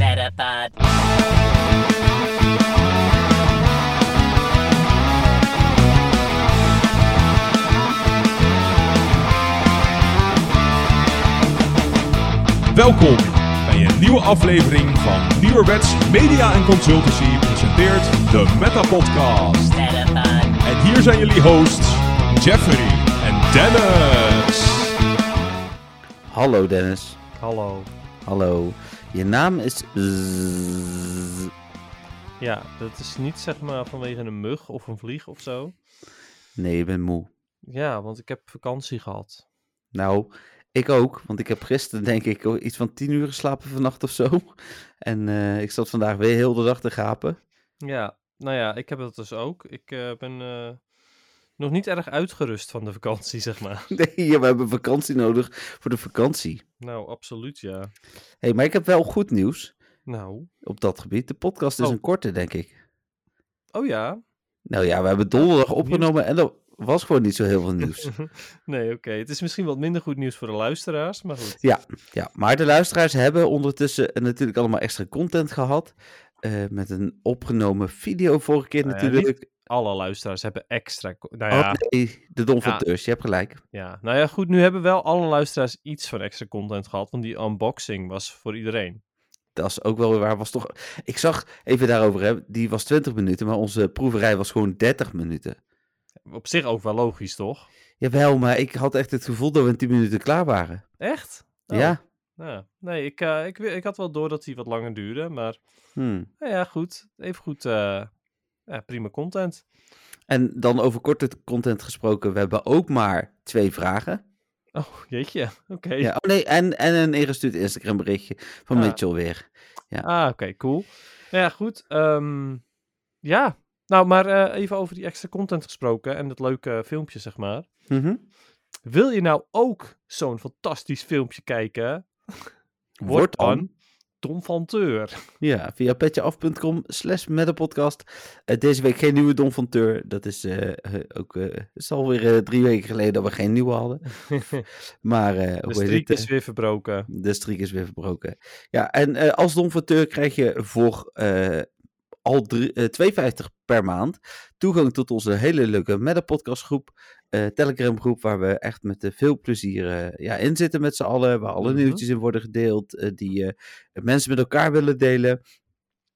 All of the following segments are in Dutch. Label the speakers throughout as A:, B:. A: Metapod.
B: Welkom bij een nieuwe aflevering van Nieuwerwets Media en Consultancy presenteert de Meta Podcast.
A: Metapod.
B: En hier zijn jullie hosts Jeffrey en Dennis.
C: Hallo Dennis.
D: Hallo.
C: Hallo. Je naam is. Z-
D: Ja, dat is niet zeg maar vanwege een mug of een vlieg of zo.
C: Nee, ik ben moe.
D: Ja, want ik heb vakantie gehad.
C: Nou, ik ook, want ik heb gisteren denk ik ook iets van 10 uur geslapen vannacht of zo. En eh, ik zat vandaag weer heel de dag te gapen.
D: Ja, nou ja, ik heb dat dus ook. Ik eh, ben eh, nog niet erg uitgerust van de vakantie, zeg maar.
C: Nee, ja, we hebben vakantie nodig voor de vakantie.
D: Nou, absoluut ja.
C: hey, maar ik heb wel goed nieuws
D: Nou,
C: op dat gebied. De podcast is
D: Oh.
C: een korte, denk ik.
D: oh ja.
C: Nou ja, we hebben donderdag opgenomen en er was gewoon niet zo heel veel nieuws.
D: Nee, oké. Het is misschien wat minder goed nieuws voor de luisteraars, maar goed.
C: Ja, maar de luisteraars hebben ondertussen eh, natuurlijk allemaal extra content gehad. eh, met een opgenomen video vorige keer
D: Nou ja,
C: natuurlijk.
D: Alle luisteraars hebben extra... ko- Nou ja,
C: Oh, nee, de Don van
D: Ja.
C: Teurs, je hebt gelijk.
D: ja, nou ja, goed. Nu hebben wel alle luisteraars iets van extra content gehad, want die unboxing was voor iedereen.
C: Dat is ook wel weer waar. Was toch... Ik zag, even daarover, hè, die was 20 minuten, maar onze proeverij was gewoon 30 minuten.
D: Op zich ook wel logisch, toch?
C: Jawel, maar ik had echt het gevoel dat we in 10 minuten klaar waren.
D: Echt? Oh.
C: Ja.
D: Nou, nee, ik, eh, ik, wi- ik had wel door dat die wat langer duurde, maar
C: Hm.
D: nou ja, goed. Even goed, eh, ja, prima content.
C: En dan over korte content gesproken, we hebben ook maar twee vragen.
D: Oh, jeetje, oké.
C: Ja, oh nee, en, en een ingestuurd Instagram berichtje van
D: Ah.
C: Mitchell weer.
D: Ah, oké, cool. Nou ja, goed. ehm, ja, nou, maar eh, even over die extra content gesproken en dat leuke filmpje, zeg maar.
C: Mhm.
D: Wil je nou ook zo'n fantastisch filmpje kijken?
C: Word dan.
D: Tom van Teur.
C: Ja, via petjeaf.com slash met de podcast. Eh, deze week geen nieuwe Don van Teur. Dat is eh, eh, ook, eh, het is alweer eh, drie weken geleden dat we geen nieuwe hadden. Maar eh,
D: De
C: hoe heet
D: streak
C: het?
D: is weer verbroken.
C: De streak is weer verbroken. Ja, en eh, als Don van Teur krijg je voor eh, al drie- eh, 2,50 per maand toegang tot onze hele leuke met de podcastgroep. eh Telegram groep waar we echt met eh, veel plezier eh, ja, in zitten met z'n allen. Waar alle
D: Mhm.
C: nieuwtjes in worden gedeeld. eh, die eh, mensen met elkaar willen delen.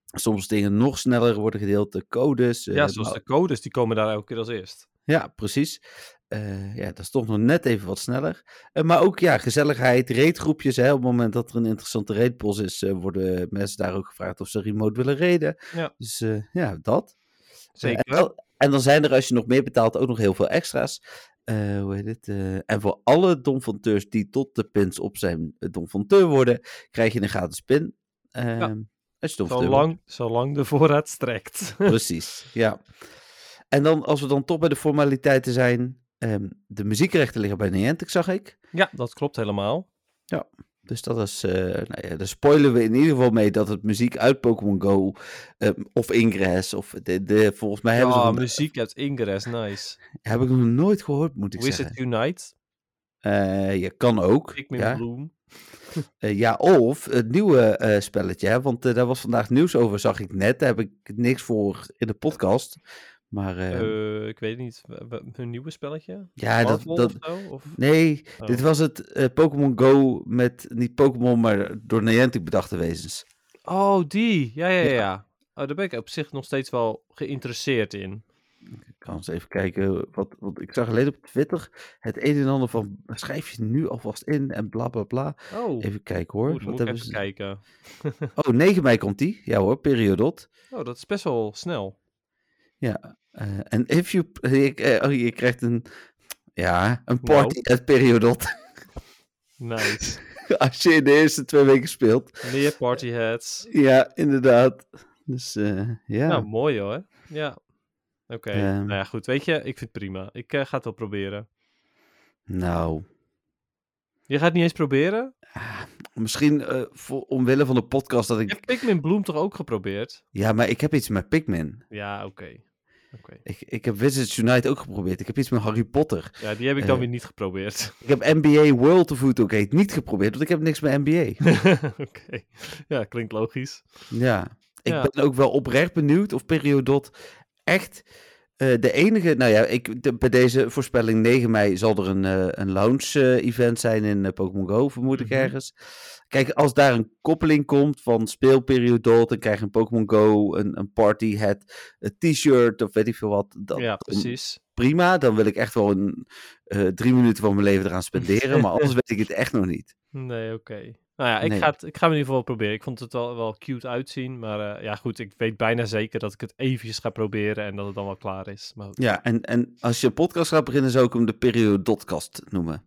C: Soms dingen nog sneller worden gedeeld. De codes. eh,
D: Ja, zoals
C: maar-
D: de codes, die komen daar elke keer als eerst.
C: ja, precies. Eh, ja, dat is toch nog net even wat sneller. Eh, maar ook ja, gezelligheid, raidgroepjes. Hè. Op het moment dat er een interessante raidpols is, eh, worden mensen daar ook gevraagd of ze remote willen raiden.
D: Ja.
C: Dus eh, ja, dat.
D: Zeker.
C: En, dan- en dan zijn er, als je nog meer betaalt, ook nog heel veel extra's. Eh, hoe heet het? eh, en voor alle Don van Teurs die tot de pins op zijn eh, Don van Teur worden, krijg je een gratis pin. Ehm Als je Don van Teur wordt.
D: Zolang, zolang de voorraad strekt.
C: Precies, ja. En dan, als we dan toch bij de formaliteiten zijn, ehm, de muziekrechten liggen bij Niantic, zag ik.
D: ja, dat klopt helemaal.
C: Dus dat is, eh, nou ja, daar spoilen we in ieder geval mee dat het muziek uit Pokémon Go ehm, of Ingress of de, de, volgens mij hebben ze
D: Ja,
C: van-
D: Ah, muziek uit Ingress, nice.
C: heb ik nog nooit gehoord, moet ik
D: Wizard
C: zeggen.
D: Unite,
C: Eh, je kan ook.
D: Pikmin
C: Ja.
D: Bloom.
C: Eh, ja, of het nieuwe eh, spelletje, hè, want eh, daar was vandaag nieuws over, zag ik net. Daar heb ik niks voor in de podcast. Maar eh,
D: Eh, ik weet niet, w- w- hun nieuwe spelletje?
C: ja, Ah, dat,
D: Marvel
C: dat,
D: of zo? Of...
C: Nee,
D: Oh.
C: dit was het eh, Pokémon Go met niet Pokémon, maar door Niantic bedachte wezens.
D: Oh, die. Ja, ja,
C: Ja.
D: ja. ja. Oh, daar ben ik op zich nog steeds wel geïnteresseerd in.
C: Ik kan eens even kijken, wat, want ik zag alleen op Twitter het een en ander van schrijf je nu alvast in en bla bla bla.
D: Oh, Oeh,
C: Even kijken hoor.
D: dan
C: wat
D: moet ik
C: hebben
D: even
C: ze?
D: kijken.
C: Oh, 9 mei komt die. Ja hoor, periodot.
D: Oh, dat is best wel snel.
C: Ja. eh, En if you... Je, eh, oh, je krijgt een... Ja, een party at periodot.
D: Nice.
C: Als je in de eerste twee weken speelt.
D: Meer party hats.
C: Ja, inderdaad. Dus eh, ja.
D: Nou, mooi hoor. Ja. Oké,
C: Ehm.
D: nou ja, goed. Weet je, ik vind het prima. Ik eh, ga het wel proberen.
C: nou.
D: Je gaat het niet eens proberen?
C: Misschien eh, voor, omwille van de podcast dat
D: Je
C: ik...
D: hebt Pikmin Bloom toch ook geprobeerd?
C: Ja, maar ik heb iets met Pikmin.
D: Ja, oké. Oké.
C: Ik, ik heb Wizards Unite ook geprobeerd. Ik heb iets met Harry Potter.
D: Ja, die heb ik dan
C: Eh.
D: weer niet geprobeerd.
C: Ik heb NBA World of Hootokate niet geprobeerd, want ik heb niks met NBA.
D: Oké. Ja, klinkt logisch.
C: Ja, ik
D: Ja.
C: ben ook wel oprecht benieuwd of Periodot echt eh, de enige... Nou ja, ik, de- bij deze voorspelling 9 mei zal er een, eh, een launch-event zijn in eh, Pokémon Go, vermoed ik
D: Mhm.
C: ergens. Kijk, als daar een koppeling komt van speel Periodot en krijg je een Pokémon Go, een, een party hat, een t-shirt of weet ik veel wat. Dan,
D: ja,
C: dan
D: precies.
C: prima, dan wil ik echt wel een, eh, drie minuten van mijn leven eraan spenderen, maar anders weet ik het echt nog niet.
D: Nee, oké. Nou ja, ik,
C: Nee.
D: ga het, ik ga het in ieder geval proberen. Ik vond het wel, wel cute uitzien. Maar eh, ja, goed, ik weet bijna zeker dat ik het eventjes ga proberen en dat het dan wel klaar is. Maar goed.
C: Ja, en, en als je een podcast gaat beginnen, zou ik hem de Periodotcast noemen.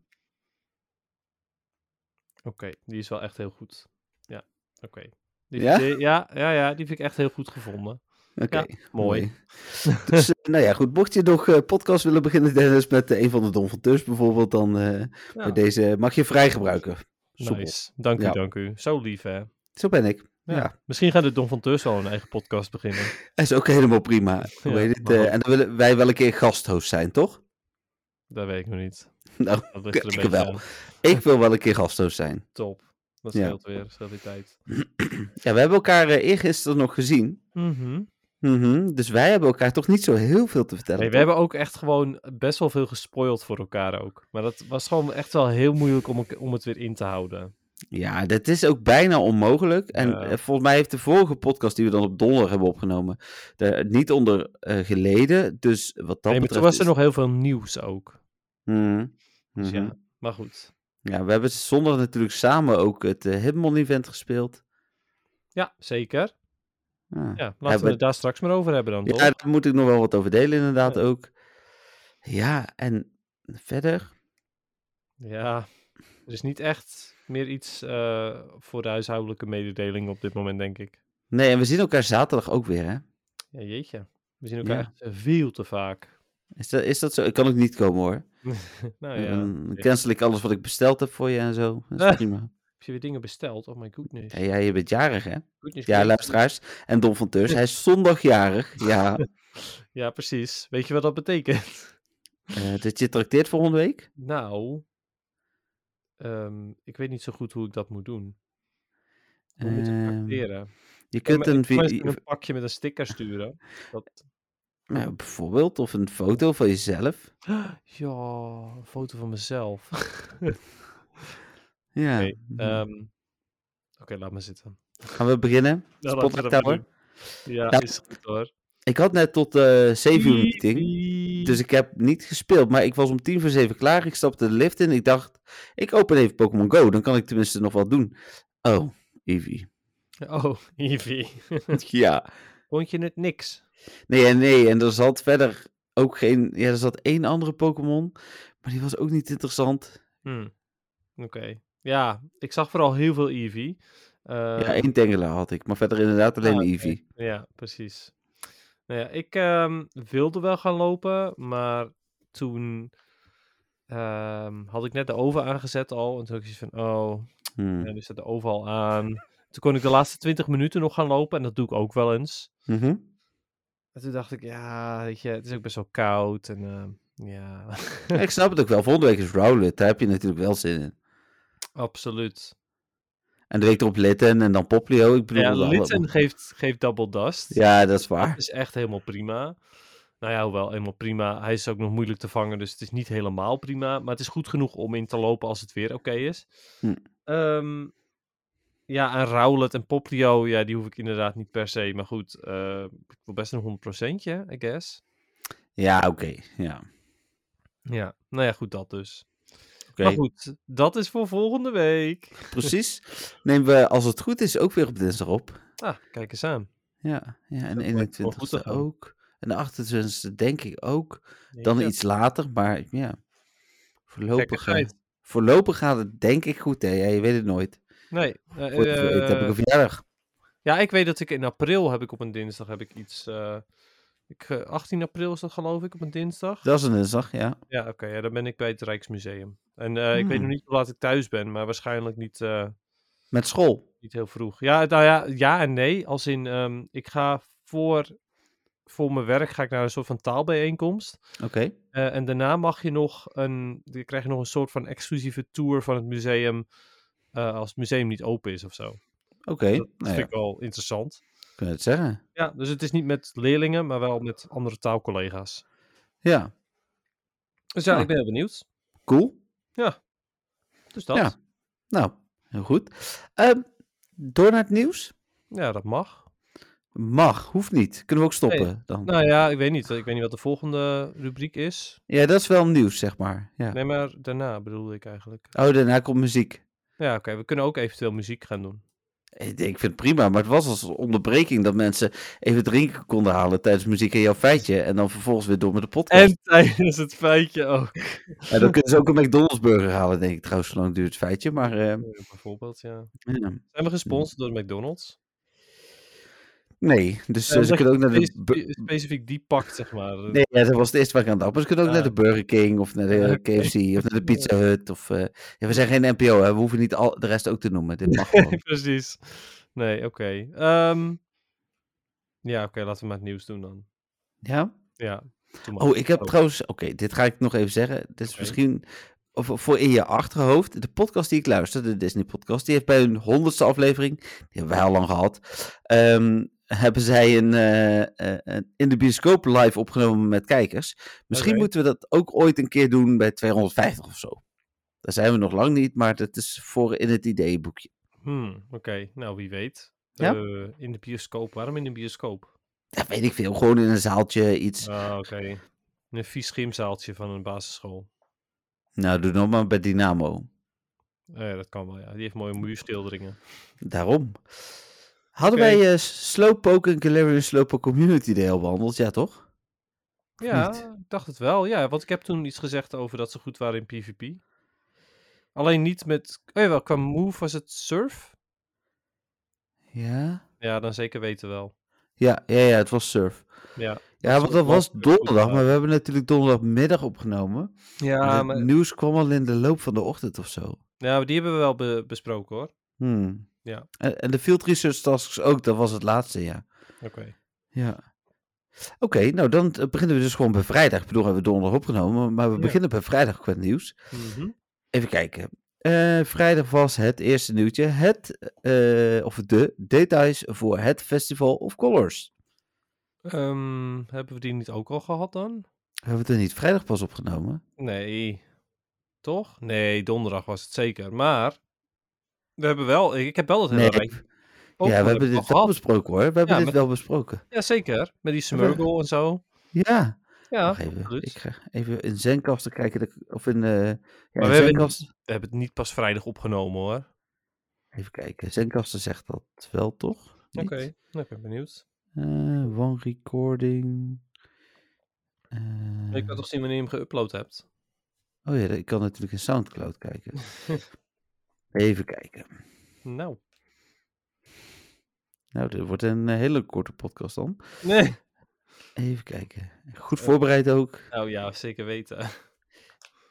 D: oké, die is wel echt heel goed. Ja, oké. Die-
C: Ja?
D: die- ja, ja, ja, die vind ik echt heel goed gevonden.
C: Oké,
D: Ja, mooi.
C: Dus, eh, nou ja, goed. Mocht je nog eh, podcast willen beginnen, Dennis, met eh, een van de donfonteurs bijvoorbeeld, dan eh, bij
D: Ja,
C: deze mag je vrij gebruiken. Soepel.
D: nice. Dank u,
C: Ja.
D: dank u. Zo lief, hè? Ja.
C: Zo ben ik. Ja.
D: Misschien gaat de Don van Teurs al een eigen podcast beginnen.
C: Dat is ook helemaal prima. Hoe
D: Ja,
C: heet het?
D: maar
C: Eh,
D: ook-
C: en dan willen wij wel een keer gasthost zijn, toch?
D: Dat weet ik nog niet.
C: Nou,
D: dat ligt er een
C: ik
D: beetje
C: wel.
D: aan.
C: Ik wil wel een keer gasthost zijn.
D: Top. Dat
C: Ja.
D: scheelt weer, scheelt die tijd.
C: Ja, we hebben elkaar eh, eergisteren nog gezien.
D: Mhm.
C: Mhm, Dus wij hebben elkaar toch niet zo heel veel te vertellen.
D: Nee, we
C: toch?
D: hebben ook echt gewoon best wel veel gespoild voor elkaar ook. Maar dat was gewoon echt wel heel moeilijk om, elk- om het weer in te houden.
C: Ja, dat is ook bijna onmogelijk. En
D: Ja.
C: eh, volgens mij heeft de vorige podcast die we dan op donderdag hebben opgenomen, daar niet onder eh, geleden. Dus wat dat
D: nee, maar
C: betreft...
D: toen was er
C: is-
D: nog heel veel nieuws ook.
C: Mhm,
D: Dus
C: mhm.
D: ja, maar goed.
C: Ja, we hebben zondag natuurlijk samen ook het eh, Hitmon event gespeeld.
D: Ja, zeker.
C: Ah.
D: Ja, laten we
C: Hebben-
D: het daar straks maar over hebben dan,
C: Ja,
D: toch?
C: daar moet ik nog wel wat over delen inderdaad
D: Ja.
C: ook. Ja, en verder...
D: Ja, er is niet echt meer iets eh, voor de huishoudelijke mededeling op dit moment, denk ik.
C: Nee, en we zien elkaar zaterdag ook weer, hè?
D: Ja, jeetje. We zien elkaar
C: Ja.
D: echt veel te vaak.
C: Is dat, is dat zo? Ik kan ook niet komen, hoor.
D: Nou ja,
C: Dan
D: ik-
C: cancel ik alles wat ik besteld heb voor je en zo. Dat is
D: Ah.
C: prima.
D: heb je weer dingen besteld? Oh my goodness.
C: Ja, ja, je bent jarig, hè?
D: Goodness
C: Ja,
D: gracious.
C: luisteraars. En Don van Teurs, hij is zondagjarig. Ja,
D: Ja, precies. Weet je wat dat betekent?
C: eh, dat je trakteert volgende week.
D: Nou, ehm, ik weet niet zo goed hoe ik dat moet doen. Hoe moet ik
C: Ehm,
D: tracteren?
C: je
D: Kan
C: kunt
D: me-
C: een,
D: kan mensen
C: vi-
D: een pakje met een sticker sturen. Dat...
C: nou, bijvoorbeeld, of een foto van jezelf.
D: Ja, een foto van mezelf.
C: Ja.
D: Oké, Ehm, Oké, laat maar zitten. Nou,
C: Gaan we beginnen?
D: Ja,
C: Spotlight Tower?
D: Ja,
C: Ja.
D: is goed hoor.
C: Ik had net tot eh 7 uur meeting. Dus ik heb niet gespeeld, maar ik was om tien voor zeven klaar. Ik stapte de lift in. Ik dacht, ik open even Pokémon Go. Dan kan ik tenminste nog wat doen. Oh, Eevee.
D: Oh, Ivy.
C: ja.
D: Vond je het niks?
C: Nee, en nee, en er zat verder ook geen. Ja, er zat één andere Pokémon. Maar die was ook niet interessant.
D: Hm. Oké. Ja, ik zag vooral heel veel Ivy. Ehm,
C: ja, één Tangela had ik. Maar verder inderdaad alleen
D: Eh. Ah,
C: maar
D: oké.
C: Eevee.
D: Ja, precies. Nou ja, ik ehm, wilde wel gaan lopen, maar toen ehm, had ik net de oven aangezet al. En toen had ik zoiets van, oh,
C: Hmm.
D: ja, nu staat de oven al aan. Toen kon ik de laatste 20 minuten nog gaan lopen en dat doe ik ook wel eens.
C: Mhm.
D: En toen dacht ik, ja, weet je, het is ook best wel koud en ehm, ja,
C: Ja, ik snap het ook wel. Volgende week is Rowlet. Daar heb je natuurlijk wel zin in.
D: absoluut.
C: En de week erop Litten en dan Poplio. Ik bedoel,
D: Ja,
C: wel-
D: Litten geeft, geeft double dust.
C: ja dat is waar.
D: Dat is echt helemaal prima. Nou ja, hoewel helemaal prima. Hij is ook nog moeilijk te vangen, dus het is niet helemaal prima. Maar het is goed genoeg om in te lopen als het weer oké is.
C: Hm.
D: Ehm, ja, en Rowlet en Poplio, ja, die hoef ik inderdaad niet per se. Maar goed, eh, ik wil best een 100%tje, I guess.
C: Ja, oké. Ja.
D: Ja, nou ja, goed, dat dus.
C: Oké.
D: Maar goed, dat is voor volgende week.
C: Precies. Nemen we, als het goed is, ook weer op dinsdag op.
D: Ah, kijk eens aan.
C: Ja, ja en
D: Dat lijkt me wel goed te
C: 21ste
D: gaan.
C: ook. En de 28ste denk ik ook.
D: Denk
C: Dan
D: je?
C: iets later, maar ja.
D: Gekke
C: Voorlopig, eh,
D: tijd.
C: voorlopig gaat het denk ik goed, hè. Ja, je weet het nooit.
D: Nee. eh,
C: Voor het weet heb ik
D: eh,
C: een verjaardag.
D: Ja, ik weet dat ik in april heb ik op een dinsdag heb ik iets. eh, ik, eh, 18 april is dat geloof ik op een dinsdag.
C: Dat is een dinsdag, ja.
D: Ja, oké, ja, dan ben ik bij het Rijksmuseum. En eh, ik weet nog
C: Hmm.
D: niet hoe laat ik thuis ben, maar waarschijnlijk niet, eh,
C: Met school.
D: niet heel vroeg. Ja, nou ja, ja en nee. Als in, ehm, ik ga voor voor mijn werk ga ik naar een soort van taalbijeenkomst.
C: Oké.
D: Eh, en daarna mag je nog een, je krijgt nog een soort van exclusieve tour van het museum. eh, als het museum niet open is of zo.
C: Oké.
D: Dat
C: Nou
D: vind
C: ja,
D: ik wel interessant.
C: kun je het zeggen.
D: Ja, dus het is niet met leerlingen, maar wel met andere taalcollega's.
C: Ja,
D: Dus ja,
C: Ah.
D: ik ben heel benieuwd.
C: cool.
D: Dus dat.
C: Ja. Nou, heel goed. Ehm, door naar het nieuws?
D: Ja, dat mag.
C: Mag, hoeft niet. Kunnen we ook stoppen dan?
D: Nou ja, ik weet niet. Ik weet niet wat de volgende rubriek is.
C: Ja, dat is wel nieuws, zeg maar. Ja.
D: Nee, maar daarna bedoelde ik eigenlijk.
C: Oh, daarna komt muziek.
D: Ja, oké. We kunnen ook eventueel muziek gaan doen.
C: Ik denk, Eh, ik vind het prima, maar het was als een onderbreking dat mensen even drinken konden halen tijdens muziek en jouw feitje. En dan vervolgens weer door met de podcast. En,
D: En tijdens het feitje ook.
C: dan kunnen ze ook een McDonald's burger halen, denk ik trouwens, zolang duurt het feitje. Maar ehm,
D: Bijvoorbeeld, ja.
C: ja.
D: Zijn we gesponsord door McDonald's?
C: nee, dus eh,
D: Eh,
C: ze kunnen ook naar de...
D: Spe-
C: bu-
D: specifiek die pak, zeg maar.
C: Nee, ja, dat was het eerste waar ik aan dacht. Maar ze kunnen ook
D: Ah.
C: naar de Burger King of naar de
D: Oké.
C: KFC of naar de Pizza Hut. Of, eh, ja, we zijn geen NPO, hè. we hoeven niet al, de rest ook te noemen. Dit mag gewoon.
D: Precies. Nee, oké. Ehm, ja, oké. laten we maar het nieuws doen dan.
C: ja?
D: Ja. doe maar.
C: Oh, ik heb
D: Oh.
C: trouwens... Oké, dit ga ik nog even zeggen. Dit is
D: Oké.
C: misschien voor voor in je achterhoofd. De podcast die ik luister, de Disney podcast, die heeft bij hun honderdste aflevering, die hebben wij al lang gehad, ehm, hebben zij een, eh, eh, een- in de bioscoop live opgenomen met kijkers. Misschien
D: Oké.
C: moeten we dat ook ooit een keer doen bij 250 of zo. Daar zijn we nog lang niet, maar dat is voor in het ideeboekje.
D: Hmm, oké. Nou, wie weet.
C: Ja?
D: Eh, in de bioscoop. Waarom in de bioscoop?
C: Ja, weet ik veel. Gewoon in een zaaltje iets.
D: Ah, oké. In Een vies gymzaaltje van een basisschool.
C: Nou, doe nog maar bij Dynamo.
D: Eh, ja, dat kan wel, ja. Die heeft mooie muurschilderingen.
C: Daarom. Hadden
D: Oké.
C: wij eh Slowpoke en Galarian Slowpoke Community Day al behandeld? Ja, toch?
D: Ja,
C: niet?
D: ik dacht het wel. Ja, want ik heb toen iets gezegd over dat ze goed waren in PvP. Alleen niet met... Oh jawel, qua move was het surf?
C: Ja.
D: Ja, dan zeker weten wel.
C: Ja, ja, ja het was Surf.
D: Ja,
C: Ja, want dat
D: was
C: was
D: goed,
C: donderdag,
D: ja.
C: maar we hebben natuurlijk donderdagmiddag opgenomen.
D: ja,
C: het
D: maar,
C: nieuws kwam al in de loop van de ochtend of zo.
D: ja maar die hebben we wel be- besproken, hoor.
C: Hmm.
D: Ja.
C: En, en de Field Research Tasks ook, dat was het laatste, ja.
D: Oké.
C: Ja. Oké, nou dan eh, beginnen we dus gewoon bij vrijdag. Ik bedoel, hebben we donderdag opgenomen, maar we
D: Ja.
C: beginnen bij vrijdag qua nieuws.
D: Mhm.
C: Even kijken. Eh, vrijdag was het eerste nieuwtje. Het, eh, of de details voor het Festival of Colors.
D: Ehm, hebben we die niet ook al gehad dan?
C: We hebben het er niet vrijdag pas opgenomen.
D: Nee. Toch? Nee, donderdag was het zeker. Maar we hebben wel, ik heb wel dat hele
C: Nee,
D: rijtje ook
C: ja,
D: al
C: we hebben
D: al
C: dit wel
D: gehad.
C: besproken hoor. We hebben
D: Ja,
C: dit
D: met-
C: wel besproken.
D: Ja, zeker. Met die Smurgle en zo.
C: Ja.
D: Ja,
C: Wacht even.
D: goed.
C: Ik ga even in Zenkasten kijken. dat ik- Of in, eh ja,
D: Maar we
C: in
D: hebben
C: Zencast-
D: we hebben het niet pas vrijdag opgenomen hoor.
C: Even kijken. Zenkasten zegt dat wel toch?
D: Oké,
C: Niet?
D: nou, ik ben benieuwd.
C: Eh, one recording. Eh,
D: Ik kan toch zien wanneer je hem geüpload hebt.
C: Oh ja, ik kan natuurlijk in Soundcloud kijken. even kijken.
D: Nou.
C: Nou, dit wordt een eh, hele korte podcast dan. Eh.
D: Nee.
C: Even kijken. Goed voorbereid ook.
D: Nou ja, zeker weten.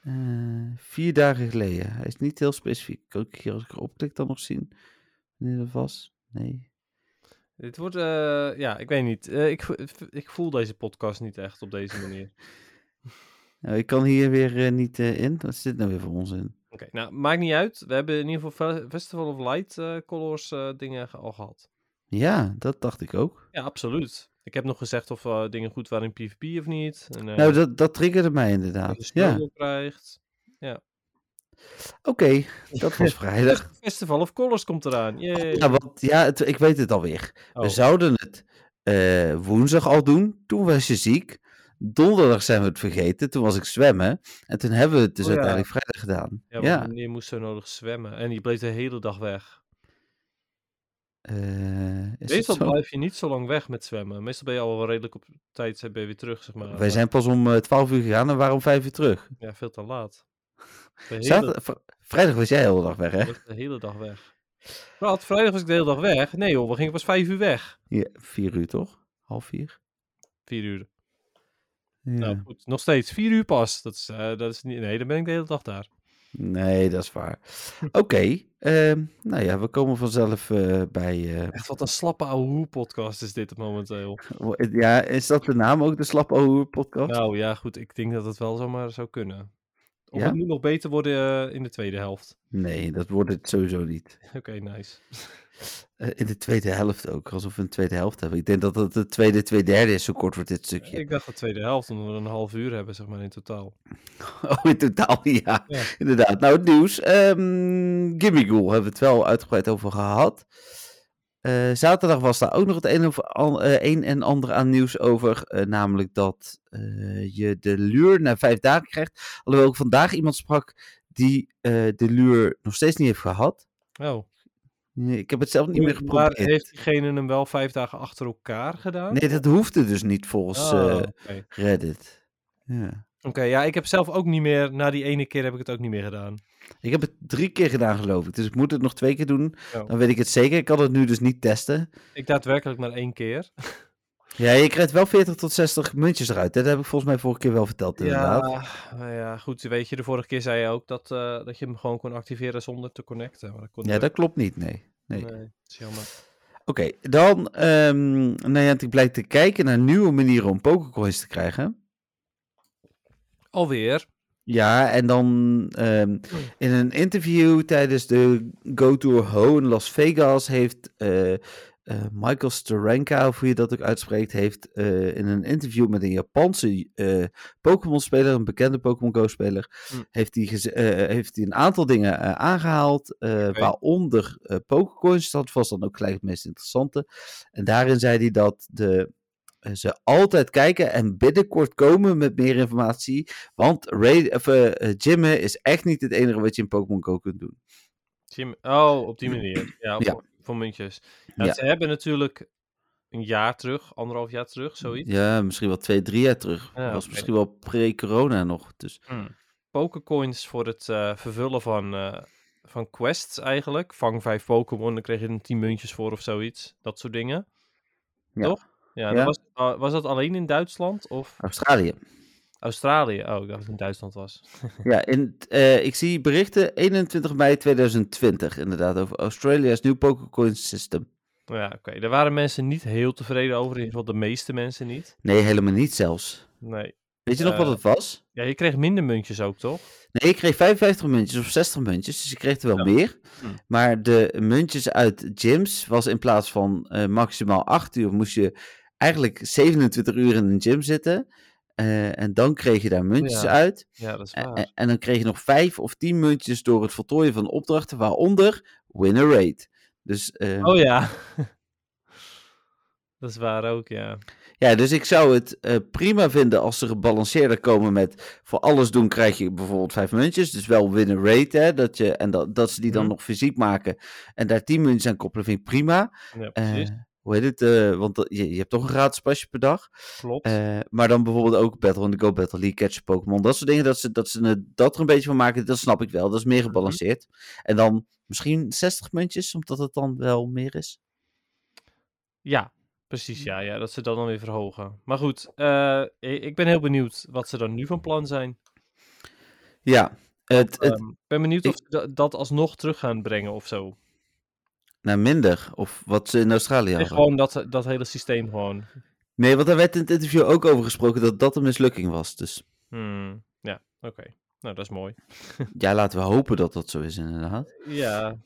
C: Eh, vier dagen geleden. Hij is niet heel specifiek. Kan ik hier als ik erop klik dan nog zien wanneer dat was? Nee.
D: Dit wordt, eh, ja, ik weet niet. Eh, ik, vo- ik voel deze podcast niet echt op deze manier.
C: Nou, ik kan hier weer eh, niet eh, in. Wat zit nou weer voor ons in?
D: Oké, nou, maakt niet uit. We hebben in ieder geval Fe- Festival of Light eh, Colors eh, dingen ge- al gehad.
C: Ja, dat dacht ik ook.
D: Ja, absoluut. Ik heb nog gezegd of eh, dingen goed waren in PvP of niet. En, eh,
C: Nou, dat, dat triggerde mij
D: dat
C: inderdaad.
D: je
C: Ja,
D: spullen krijgt.
C: oké. dat was vrijdag.
D: Festival of Colors komt eraan. Yay.
C: Ja, want, ja het- ik weet het alweer.
D: Oh,
C: We zouden het eh, woensdag al doen. Toen was je ziek. Donderdag zijn we het vergeten. Toen was ik zwemmen. En toen hebben we het dus
D: Oh ja.
C: uiteindelijk vrijdag gedaan.
D: ja,
C: Ja,
D: want meneer moest zo nodig zwemmen. En die bleef de hele dag weg.
C: eh, is het
D: Meestal
C: zo?
D: blijf je niet zo lang weg met zwemmen. Meestal ben je al wel redelijk op tijd eh, ben je weer terug, zeg maar.
C: Wij
D: Maar-
C: zijn pas om eh, 12 uur gegaan en waren om 5 uur terug.
D: Ja, veel te laat. De hele,
C: Zaterdag, vri- vrijdag was jij de hele dag weg, hè?
D: ik was de hele dag weg. Wat, vrijdag was ik de hele dag weg? Nee joh, we gingen pas vijf uur weg.
C: Ja, 4 uur toch? Half vier?
D: Vier uur.
C: Ja.
D: Nou goed, nog steeds. Vier uur pas. Dat is, eh, dat is niet... Nee, dan ben ik de hele dag daar.
C: Nee, dat is waar. Oké, ehm, nou ja, we komen vanzelf eh, bij... eh,
D: Echt wat een slappe ouwe hoe podcast is dit momenteel.
C: ja, is dat de naam ook, de Slap Ouwe podcast?
D: Nou ja, goed, ik denk dat het wel zomaar zou kunnen. Of
C: Ja?
D: het moet nog beter worden eh, in de tweede helft.
C: Nee, dat wordt het sowieso niet.
D: Oké, nice.
C: Eh, in de tweede helft ook, alsof we een tweede helft hebben. Ik denk dat het de tweede, twee derde is, zo kort wordt dit stukje.
D: Ik dacht de tweede helft, omdat we een half uur hebben, zeg maar, in totaal.
C: Oh, in totaal, ja.
D: Ja.
C: Inderdaad. Nou, het nieuws. Ehm Gimme Ghoul hebben we het wel uitgebreid over gehad. Eh, zaterdag was daar ook nog het een, of an- eh, een en ander aan nieuws over. eh, namelijk dat eh, je de luur na vijf dagen krijgt. Alhoewel ik vandaag iemand sprak die eh, de luur nog steeds niet heeft gehad.
D: Oh.
C: Nee, Ik heb het zelf niet meer
D: Maar
C: geprobeerd.
D: heeft diegene hem wel vijf dagen achter elkaar gedaan?
C: Nee, dat hoefde dus niet volgens
D: Oh,
C: eh,
D: Oké,
C: Reddit. Ja.
D: Oké, ja, ik heb zelf ook niet meer, na die ene keer heb ik het ook niet meer gedaan.
C: Ik heb het drie keer gedaan, geloof ik. Dus ik moet het nog twee keer doen.
D: Ja.
C: Dan weet ik het zeker. Ik kan het nu dus niet testen.
D: Ik daadwerkelijk maar één keer.
C: Ja, je krijgt wel 40 tot 60 muntjes eruit. Dat heb ik volgens mij vorige keer wel verteld. Inderdaad.
D: nou ja, goed, weet je, de vorige keer zei je ook dat, eh, dat je hem gewoon kon activeren zonder te connecten. Maar dat kon
C: Ja, dat klopt niet. Nee. nee.
D: Nee, dat is jammer.
C: Oké, dan. ehm Niantic blijkt te kijken naar nieuwe manieren om Pokécoins te krijgen.
D: Alweer.
C: Ja, en dan ehm, in een interview tijdens de Go Tour Ho in Las Vegas heeft eh, eh, Michael Steranka, of hoe je dat ook uitspreekt, heeft eh, in een interview met een Japanse eh, Pokémon-speler, een bekende Pokémon Go-speler,
D: Hm.
C: heeft hij geze- eh, heeft hij een aantal dingen eh, aangehaald, eh, waaronder eh Pokécoins, dat was dan ook gelijk het meest interessante. En daarin zei hij dat de, eh, ze altijd kijken en binnenkort komen met meer informatie, want raid, of, eh, eh, gymmen is echt niet het enige wat je in Pokémon Go kunt doen.
D: Jim, oh, op die manier. Ja,
C: Ja.
D: Voor, voor muntjes. Ja,
C: Ja.
D: Ze hebben natuurlijk een jaar terug, anderhalf jaar terug, zoiets.
C: Ja, misschien wel twee, drie jaar terug.
D: Ja,
C: was
D: oké.
C: misschien wel pre-corona nog. Dus
D: Ah. Pokécoins voor het eh, vervullen van, eh, van quests eigenlijk. Vang vijf Pokémon, dan kreeg je er tien muntjes voor of zoiets. Dat soort dingen.
C: Ja.
D: Toch? Ja,
C: Ja.
D: Dat was, ah, was dat alleen in Duitsland of
C: Australië.
D: Australië? Oh, ik dacht dat het in Duitsland was.
C: Ja, in, t- eh, ik zie berichten 21 mei 2020 inderdaad over Australia's nieuw Pokécoin system.
D: Nou ja, oké. Daar waren mensen niet heel tevreden over. In ieder geval de meeste mensen niet.
C: Nee, helemaal niet zelfs.
D: Nee.
C: Weet je nog wat
D: Eh.
C: het was?
D: Ja, je kreeg minder muntjes ook, toch?
C: Nee, ik kreeg 55 muntjes of 60 muntjes, dus ik kreeg er wel
D: Ja.
C: meer.
D: Hm.
C: Maar de muntjes uit gyms was in plaats van eh, maximaal 8 uur, moest je eigenlijk 27 uur in een gym zitten. Eh, en dan kreeg je daar muntjes
D: Ja.
C: uit.
D: Ja, dat is
C: En-
D: waar.
C: En, en dan kreeg je nog vijf of tien muntjes door het voltooien van opdrachten, waaronder win a raid. Dus, eh,
D: Oh ja. dat is waar ook, ja.
C: ja, dus ik zou het eh, prima vinden als ze gebalanceerder komen met voor alles doen krijg je bijvoorbeeld vijf muntjes. Dus wel win a raid, hè, dat je, en dat, dat ze die dan
D: Mhm.
C: nog fysiek maken en daar tien muntjes aan koppelen vind ik prima.
D: Ja,
C: Eh,
D: precies.
C: hoe heet het? eh, want dat- je, je hebt toch een gratis pasje per dag.
D: Klopt.
C: Eh, maar dan bijvoorbeeld ook Battle in the Go Battle League, Catch Pokémon. Dat soort dingen, dat ze, dat ze eh, dat er een beetje van maken, dat snap ik wel. Dat is
D: Mhm.
C: meer gebalanceerd. En dan misschien 60 muntjes, omdat het dan wel meer is.
D: Ja,
C: hm.
D: precies. Ja, ja, dat ze dat dan weer verhogen. Maar goed, eh, i- ik ben heel benieuwd wat ze dan nu van plan zijn.
C: Ja, het, het,
D: Ehm, ik ben benieuwd
C: ik-
D: of ze da- dat alsnog terug gaan brengen of zo.
C: naar nou, minder. Of wat ze in Australië
D: Nee,
C: hadden.
D: gewoon dat, dat hele systeem gewoon.
C: Nee, want daar werd in het interview ook over gesproken dat dat een mislukking was. Dus
D: Hmm, ja, oké. Nou, dat is mooi.
C: ja, laten we hopen dat dat zo is inderdaad.
D: Ja,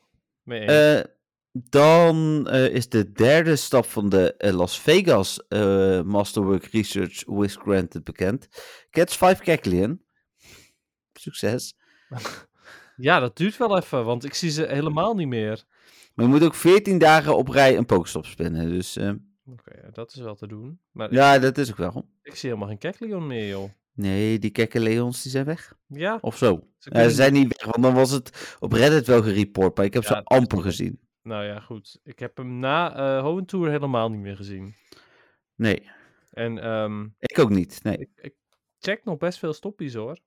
D: mee eens.
C: Eh, dan eh, is de derde stap van de eh, Las Vegas eh, Masterwork Research with Granted bekend. Catch 5 Cackleon. Succes.
D: ja, dat duurt wel even, want ik zie ze helemaal niet meer.
C: Maar je moet ook 14 dagen op rij een Pokestop spinnen. Dus eh,
D: Oké, ja, dat is wel te doen. Maar
C: ja, dat is ook wel.
D: ik, ik zie helemaal geen Keklion meer, joh.
C: Nee, die Cackleons die zijn weg.
D: Ja,
C: Of zo.
D: ze
C: Eh,
D: kunnen
C: ze zijn niet weg, want dan was het op Reddit wel gereport. Maar ik heb
D: Ja,
C: ze
D: dat
C: amper
D: is-
C: gezien.
D: Nou ja, goed. Ik heb hem na eh Hoentour helemaal niet meer gezien.
C: Nee,
D: En ehm,
C: ik ook niet. Nee.
D: ik, ik check nog best veel stoppies hoor.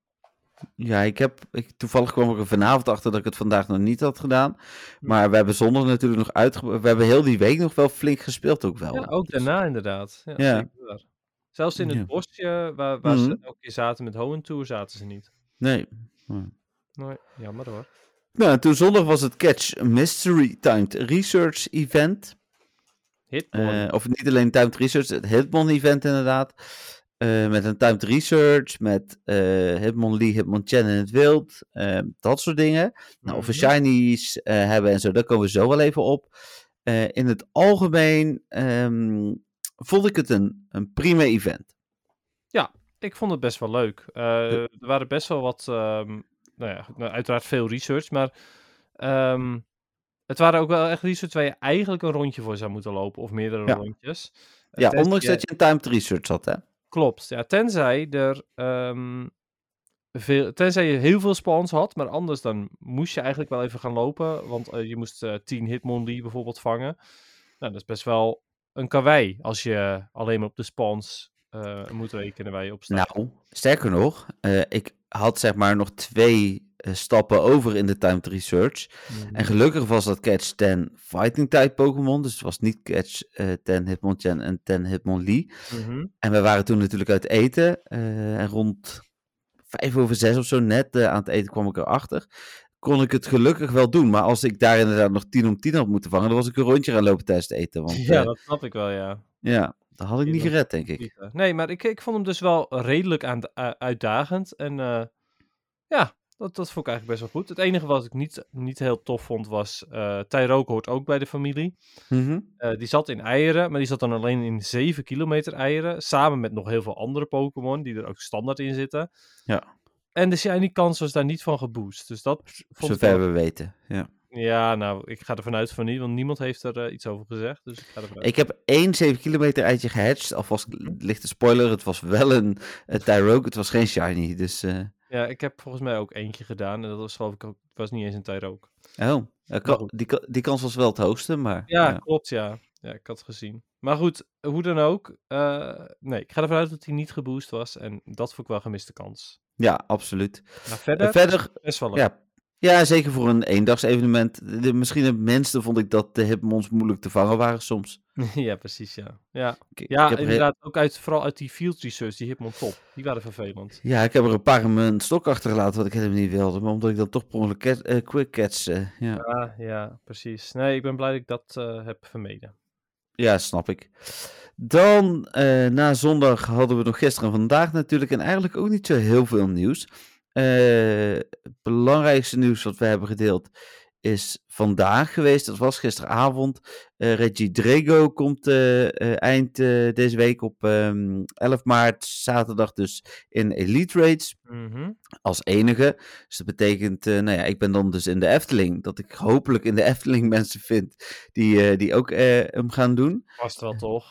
C: Ja, ik heb. Ik, toevallig kwam ik er vanavond achter dat ik het vandaag nog niet had gedaan. Maar we hebben zondag natuurlijk nog uitge. We hebben heel die week nog wel flink gespeeld, ook wel.
D: Ja, ook
C: Dus-
D: daarna inderdaad. Ja,
C: Ja.
D: zeker waar. Zelfs in het
C: Ja.
D: bosje waar, waar ze
C: Mhm.
D: elke keer zaten met Hoentour zaten ze niet.
C: Nee.
D: Nee, jammer hoor.
C: Nou, en toen zondag was het Catch Mystery Timed Research Event.
D: Hitmon.
C: Eh, of niet alleen Timed Research, het Hitmon event inderdaad. Eh, met een Timed Research, met eh Hitmon Lee, Hitmon Chen in het wild. eh, dat soort dingen. Nou, of we
D: Mhm.
C: shinies eh, hebben en zo, daar komen we zo wel even op. Eh, in het algemeen ehm, vond ik het een, een prima event.
D: Ik vond het best wel leuk. Eh, er waren best wel wat, ehm, nou ja, goed, nou, uiteraard veel research, maar ehm, het waren ook wel echt research waar je eigenlijk een rondje voor zou moeten lopen, of meerdere
C: Ja.
D: rondjes. Eh,
C: Ja,
D: tenzij-
C: ondanks dat je een Timed Research had, hè.
D: Klopt, ja, tenzij er, ehm, veel, tenzij je heel veel spawns had, maar anders dan moest je eigenlijk wel even gaan lopen, want eh, je moest eh 10 Hitmonlee bijvoorbeeld vangen. Nou, dat is best wel een karwei als je alleen maar op de spawns eh, moet rekenen waar je op staat.
C: Nou, sterker nog, eh, ik had zeg maar nog twee eh, stappen over in de Timed Research. Nou, En gelukkig was dat Catch 10 Fighting type Pokémon. Dus het was niet Catch eh 10 Hitmonchan en 10 Hitmonlee.
D: Mhm.
C: En we waren toen natuurlijk uit eten. eh, en rond vijf over zes of zo net eh, aan het eten kwam ik erachter. Kon ik het gelukkig wel doen. Maar als ik daar inderdaad nog 10 om 10 had moeten vangen, dan was ik een rondje gaan lopen tijdens het eten. Want
D: Ja,
C: ja,
D: dat snap ik wel, ja.
C: ja dat had ik niet
D: Inderdaad.
C: gered, denk eh, ik.
D: Nee, maar ik, ik vond hem dus wel redelijk aan, eh, uitdagend. En eh, ja, dat, dat vond ik eigenlijk best wel goed. Het enige wat ik niet, niet heel tof vond was... eh Tyroke hoort ook bij de familie.
C: Mhm.
D: Eh, die zat in eieren, maar die zat dan alleen in 7 kilometer eieren. Samen met nog heel veel andere Pokémon die er ook standaard in zitten.
C: Ja.
D: En de shiny kans was daar niet van geboost. Dus dat vond ik wel-
C: Zover we weten. Ja.
D: Ja, nou, ik ga ervan uit van niet, want niemand heeft er eh, iets over gezegd. Dus ik ga ervan uit.
C: Ik heb één 7 kilometer eitje gehatcht. Alvast lichte spoiler. Het was wel een eh, Tyroke. Het was geen shiny. Dus. eh,
D: Ja, ik heb volgens mij ook eentje gedaan. En dat was geloof ik ook... Het was niet eens een Tyroke.
C: Oh, eh, ka-
D: goed.
C: die, ka- die kans was wel het hoogste, maar... eh,
D: Ja, klopt, ja. Ja, ik had het gezien. Maar goed, hoe dan ook. eh, nee, ik ga ervan uit dat hij niet geboost was. En dat vond ik wel een gemiste kans.
C: Ja, absoluut.
D: Maar
C: En
D: verder,
C: verder,
D: best wel leuk.
C: ja, ja, zeker voor een eendagsevenement. De- de- misschien het minste vond ik dat de hipmons moeilijk te vangen waren soms.
D: Ja, precies, ja. Ja,
C: Ik- ik
D: ja
C: heb er-
D: inderdaad. Ook uit, vooral uit die field research, die Hitmon top. Die waren vervelend.
C: ja, ik heb er een paar in mijn stok achtergelaten wat ik helemaal niet wilde. Maar omdat ik dan toch per ongeluk cat- eh, quick catch... eh, ja.
D: Ja, ja, precies. Nee, ik ben blij dat ik dat eh, heb vermeden.
C: ja, snap ik. Dan, eh, na zondag hadden we nog gisteren en vandaag natuurlijk... en eigenlijk ook niet zo heel veel nieuws. Eh, het belangrijkste nieuws wat we hebben gedeeld is vandaag geweest. Dat was gisteravond. Eh, Reggie Drago komt eh, eh, eind eh, deze week op ehm, 11 maart, zaterdag dus, in Elite Raids
D: Mhm.
C: als enige. Dus dat betekent, eh, nou ja, ik ben dan dus in de Efteling. Dat ik hopelijk in de Efteling mensen vind die, eh, die ook eh, hem gaan doen.
D: Past wel, toch?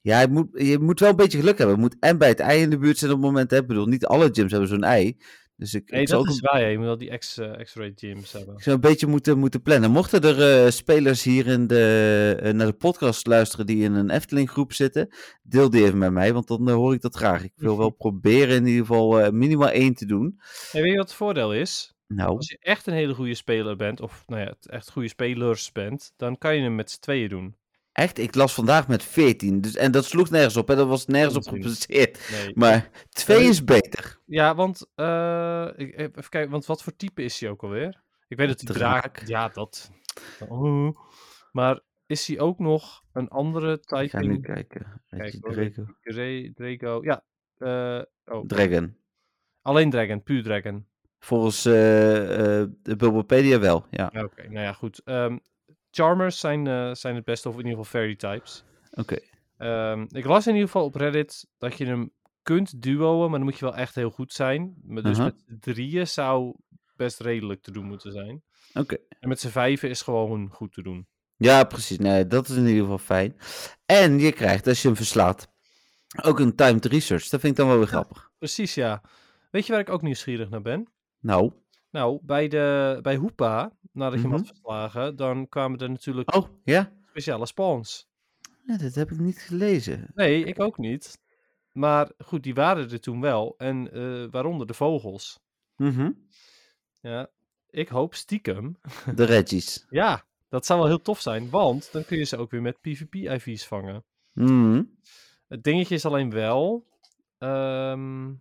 C: Ja, je moet, je moet wel een beetje geluk hebben. Je moet en bij het ei in de buurt zijn op het moment. Hè. Ik bedoel, niet alle gyms hebben zo'n ei. Dus ik,
D: Nee,
C: ik zou
D: dat
C: ook
D: is
C: een,
D: waar. ja. Je moet wel die X, eh, X-ray gyms hebben.
C: ik zou een beetje moeten, moeten plannen. Mochten er eh, spelers hier in de, eh, naar de podcast luisteren die in een Efteling groep zitten, deel die even met mij, want dan eh, hoor ik dat graag. Ik wil
D: Mhm.
C: wel proberen in ieder geval eh, minimaal één te doen.
D: En weet je wat het voordeel is?
C: Nou,
D: Als je echt een hele goede speler bent, of nou ja, het echt goede spelers bent, dan kan je hem met z'n tweeën doen.
C: Echt, ik las vandaag met 14. Dus, en dat sloeg nergens op. En dat was nergens op
D: Onzin.
C: gebaseerd.
D: Nee.
C: Maar 2
D: Ja,
C: is beter.
D: Ja, want eh, ik, even kijken, want wat voor type is hij ook alweer? Ik weet dat hij draak.
C: Draak.
D: Ja, dat. Oh. Maar is hij ook nog een andere
C: Ik ga nu
D: typing?
C: kijken. Reggie
D: hoor,
C: Drago.
D: Dra- Drago. Ja. eh, oh.
C: Dragon.
D: Alleen Dragon, puur Dragon.
C: Volgens eh, eh, de Bulbapedia wel, ja.
D: Ja, Oké, nou ja, goed. Ehm, Charmers zijn, eh, zijn het beste, of in ieder geval fairy types.
C: Oké.
D: Ehm, ik las in ieder geval op Reddit dat je hem kunt duoen, maar dan moet je wel echt heel goed zijn. Maar dus
C: Aha.
D: met z'n drieën zou best redelijk te doen moeten zijn.
C: Oké.
D: En met z'n vijven is gewoon goed te doen.
C: Ja, precies. Nee, dat is in ieder geval fijn. En je krijgt, als je hem verslaat, ook een timed research. Dat vind ik dan wel weer grappig.
D: Precies, ja. Weet je waar ik ook nieuwsgierig naar ben?
C: Nou.
D: Nou, bij, de, bij Hoepa, nadat je hem had
C: Mhm.
D: verslagen, dan kwamen er natuurlijk
C: Oh, ja?
D: speciale spawns.
C: Nee, dat heb ik niet gelezen.
D: Nee, ik ook niet. Maar goed, die waren er toen wel. En eh, waaronder de vogels.
C: Mhm.
D: Ja, ik hoop stiekem
C: De Reggies.
D: Ja, dat zou wel heel tof zijn, want dan kun je ze ook weer met PvP-IV's vangen.
C: Mhm.
D: Het dingetje is alleen wel. ehm,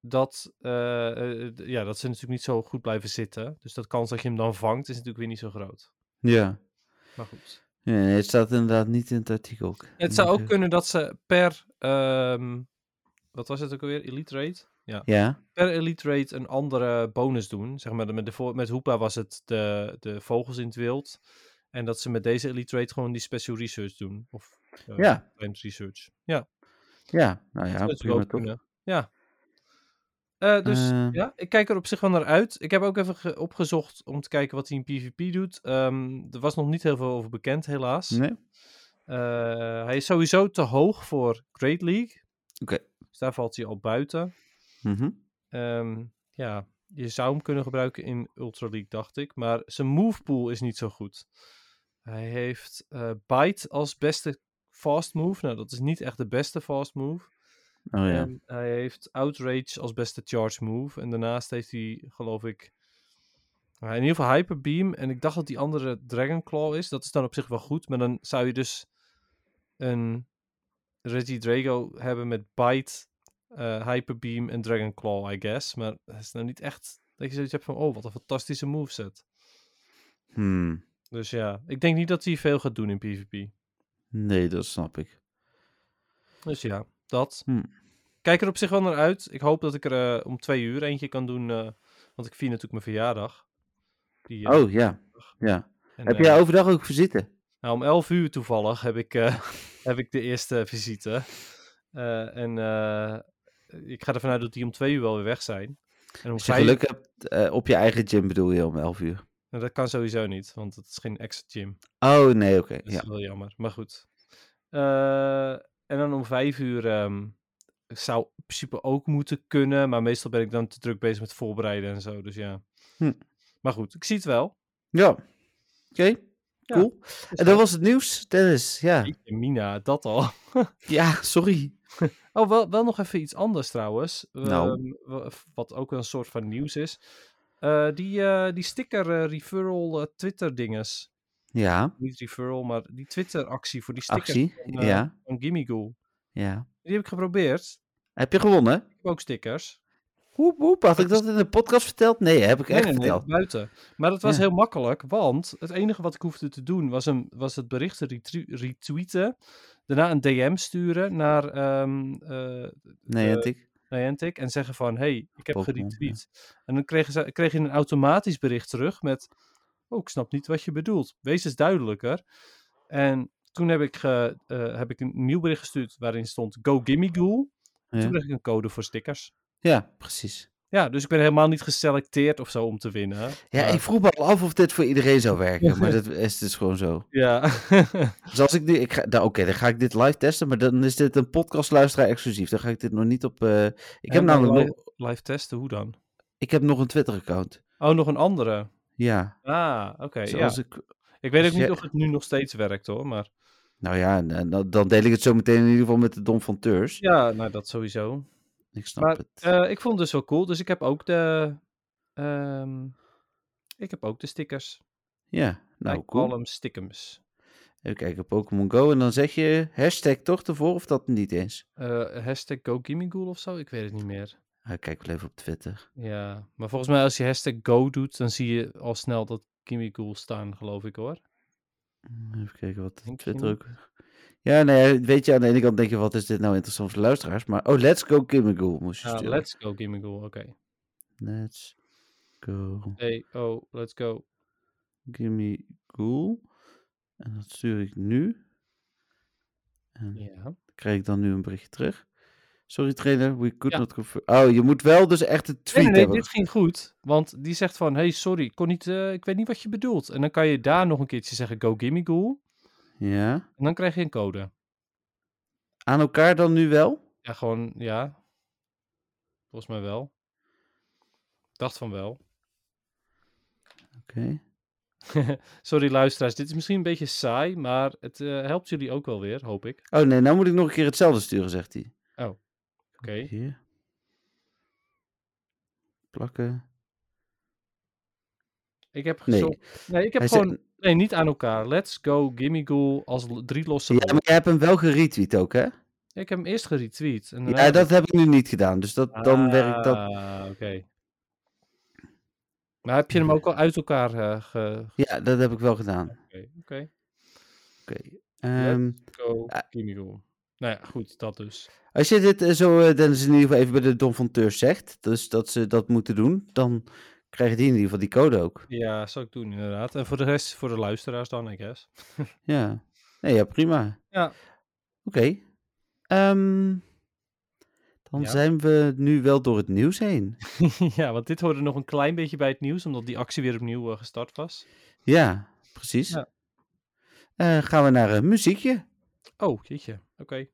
D: dat, eh, eh, d- ja, dat ze natuurlijk niet zo goed blijven zitten. Dus dat kans dat je hem dan vangt is natuurlijk weer niet zo groot.
C: Ja.
D: Maar goed.
C: Ja, nee, het staat inderdaad niet in het artikel.
D: Het zou
C: Nee.
D: ook kunnen dat ze per, ehm, wat was het ook alweer, Elite Raid? Ja.
C: Ja,
D: per elite raid een andere bonus doen. Zeg maar, met, de, vo- met Hoepa was het de, de vogels in het wild. En dat ze met deze elite raid gewoon die special research doen. Of eh,
C: ja,
D: timed research. Ja,
C: ja. Nou ja,
D: dat zou
C: prima
D: ook
C: toch.
D: kunnen. Ja. Eh, dus
C: Eh.
D: ja, ik kijk er op zich wel naar uit. Ik heb ook even ge- opgezocht om te kijken wat hij in PvP doet. Ehm, er was nog niet heel veel over bekend, helaas.
C: Nee?
D: Eh, hij is sowieso te hoog voor Great League.
C: Oké.
D: Dus daar valt hij al buiten.
C: Mhm.
D: Ehm, ja, je zou hem kunnen gebruiken in Ultra League, dacht ik. Maar zijn move pool is niet zo goed. Hij heeft eh, Bite als beste fast move. Nou, dat is niet echt de beste fast move.
C: Oh ja.
D: En hij heeft Outrage als beste charge move. En daarnaast heeft hij, geloof ik, nou, in ieder geval Hyper Beam. En ik dacht dat die andere Dragon Claw is. Dat is dan op zich wel goed. Maar dan zou je dus een Reggie Drago hebben met Bite, eh Hyper Beam en Dragon Claw, I guess. Maar het is nou niet echt dat je zoiets hebt van, oh, wat een fantastische moveset.
C: Hmm.
D: Dus ja, ik denk niet dat hij veel gaat doen in PvP.
C: Nee, dat snap ik.
D: Dus ja, dat.
C: Hmm.
D: Kijk er op zich wel naar uit. Ik hoop dat ik er eh, om twee uur eentje kan doen. eh, want ik vier natuurlijk mijn verjaardag. Die, eh,
C: Oh ja. ja.
D: en,
C: Heb
D: eh,
C: jij overdag ook verzitten?
D: Nou, om 11 uur toevallig heb ik, eh, heb ik de eerste visite. Eh, en eh, ik ga ervan uit dat die om 2 uur wel weer weg zijn. En om
C: Als je
D: vijf-
C: geluk hebt eh, op je eigen gym bedoel je om 11 uur.
D: Nou, dat kan sowieso niet, want het is geen extra gym.
C: Oh nee, oké.
D: Dat
C: Ja.
D: is wel jammer, maar goed. Eh, en dan om 5 uur ehm, zou in principe ook moeten kunnen, maar meestal ben ik dan te druk bezig met voorbereiden en zo. Dus ja.
C: Hm.
D: Maar goed, ik zie het wel.
C: Ja. Oké.
D: Ja, Dus
C: Cool. en dat was het nieuws, Dennis. Ja.
D: Jeetje, Mina, dat al.
C: Ja, sorry.
D: Oh, wel, wel nog even iets anders trouwens.
C: Nou.
D: Ehm, wa- wat ook een soort van nieuws is. Eh, die, eh, die sticker eh, referral eh, Twitter dinges.
C: Ja.
D: Niet referral, maar die Twitter actie voor die sticker
C: Actie.
D: van, eh,
C: Ja.
D: van Gimme Ghoul.
C: Ja.
D: Die heb ik geprobeerd.
C: Heb je gewonnen?
D: Ik heb ook stickers.
C: Hoep, hoep. Had ik dat in de podcast verteld? Nee, heb ik
D: Nee,
C: echt
D: nee, nee,
C: verteld.
D: buiten. Maar dat was
C: Ja.
D: heel makkelijk, want het enige wat ik hoefde te doen was, een, was het bericht retwe- retweeten. Daarna een DM sturen naar ehm, eh,
C: Nee,
D: Eh,
C: had ik.
D: Niantic en zeggen van, hey, ik heb
C: Pokémon,
D: geretweet. En dan kregen ze, kreeg je een automatisch bericht terug met, oh, ik snap niet wat je bedoelt. Wees eens duidelijker. En toen heb ik, ge- eh, heb ik een nieuw bericht gestuurd waarin stond Go Gimme Ghoul.
C: Ja.
D: Toen kreeg ik een code voor stickers.
C: Ja, precies.
D: Ja, dus ik ben helemaal niet geselecteerd of zo om te winnen.
C: Ja,
D: Maar-
C: ik vroeg me al af of dit voor iedereen zou werken, maar dat is dus gewoon zo.
D: Ja.
C: Dus als ik nu, ik ga, nou, oké, dan ga ik dit live testen, maar dan is dit een podcastluisteraar exclusief. Dan ga ik dit nog niet op. eh, ik, heb
D: En dan
C: namelijk
D: live,
C: nog,
D: live testen, hoe dan?
C: ik heb nog een Twitter-account.
D: Oh, nog een andere.
C: Ja,
D: Ah, oké.
C: dus
D: ja.
C: als ik,
D: Ik weet ook
C: als
D: niet
C: jij-
D: of het nu nog steeds werkt hoor, maar
C: nou ja, en, en dan- dan deel ik het zo meteen in ieder geval met de Don van Teurs.
D: ja, nou dat sowieso.
C: Ik snap
D: Maar,
C: het.
D: Eh, ik vond het dus wel cool. Dus ik heb ook de. ehm, ik heb ook de stickers.
C: ja, nou
D: ik
C: cool.
D: call 'em stickums.
C: Even kijken, Pokémon Go. En dan zeg je hashtag toch ervoor of dat niet eens?
D: Eh, hashtag GoGimmighoul of zo, ik weet het niet meer.
C: Ah, ik kijk wel even op Twitter.
D: Ja, maar volgens mij als je hashtag Go doet, dan zie je al snel dat Gimmighoul staan, geloof ik hoor.
C: Even kijken wat
D: Denk je
C: Twitter
D: niet?
C: ook. Ja, nee, weet je, aan de ene kant denk je, wat is dit nou interessant voor luisteraars? Maar, oh, let's go Kimmigool moest je
D: Ah,
C: sturen.
D: let's go Gimmighoul, oké.
C: Let's go.
D: Hey, oh, let's go.
C: Gimme Ghoul. En dat stuur ik nu. En
D: Ja.
C: krijg ik dan nu een berichtje terug. Sorry trainer, we could
D: Ja.
C: not confirm. Oh, je moet wel dus echt een
D: Nee,
C: tweet
D: nee, nee,
C: hebben.
D: dit ging goed. Want die zegt van, hey, sorry, ik, kon niet, eh, ik weet niet wat je bedoelt. En dan kan je daar nog een keertje zeggen Go Gimmighoul.
C: Ja.
D: En dan krijg je een code.
C: Aan elkaar dan nu wel?
D: Ja, gewoon, ja. Volgens mij wel. Dacht van wel.
C: Oké.
D: Sorry luisteraars, dit is misschien een beetje saai, maar het eh, helpt jullie ook wel weer, hoop ik.
C: Oh nee, nou moet ik nog een keer hetzelfde sturen, zegt hij.
D: Oké.
C: Hier. Plakken.
D: Ik heb
C: Nee.
D: gezocht. Nee, ik heb
C: Hij zei-
D: gewoon. Nee, niet aan elkaar. Let's go, gimme ghoul als l- drie losse.
C: Ja, maar
D: ballen.
C: jij hebt hem wel geretweet ook, hè?
E: Ja, ik heb hem eerst geretweet. En daarna
C: Ja, dat heb ik nu niet gedaan. Dus dat, dan werkt dat.
E: Ah, oké. Maar heb je hem ook al uit elkaar eh ge...
C: Ja, dat heb ik wel gedaan. Oké.
E: Oké, oké.
C: Ehm,
E: Go,
C: Ah.
E: Kimiko. Nou ja, goed, dat dus.
C: Als je dit eh, zo, eh, Dennis, in ieder geval even bij de Don van Teur zegt, dus dat ze dat moeten doen, dan krijgen die in ieder geval die code ook.
E: Ja, zal ik doen inderdaad. En voor de rest, voor de luisteraars dan, I guess.
C: Ja. Nee, ja, prima.
E: Ja.
C: Oké. Ehm, dan
E: Ja.
C: zijn we nu wel door het nieuws heen.
E: ja, want dit hoorde nog een klein beetje bij het nieuws, omdat die actie weer opnieuw eh, gestart was.
C: Ja, precies.
E: Ja.
C: Eh, gaan we naar een muziekje.
E: Oh, jeetje. Oké.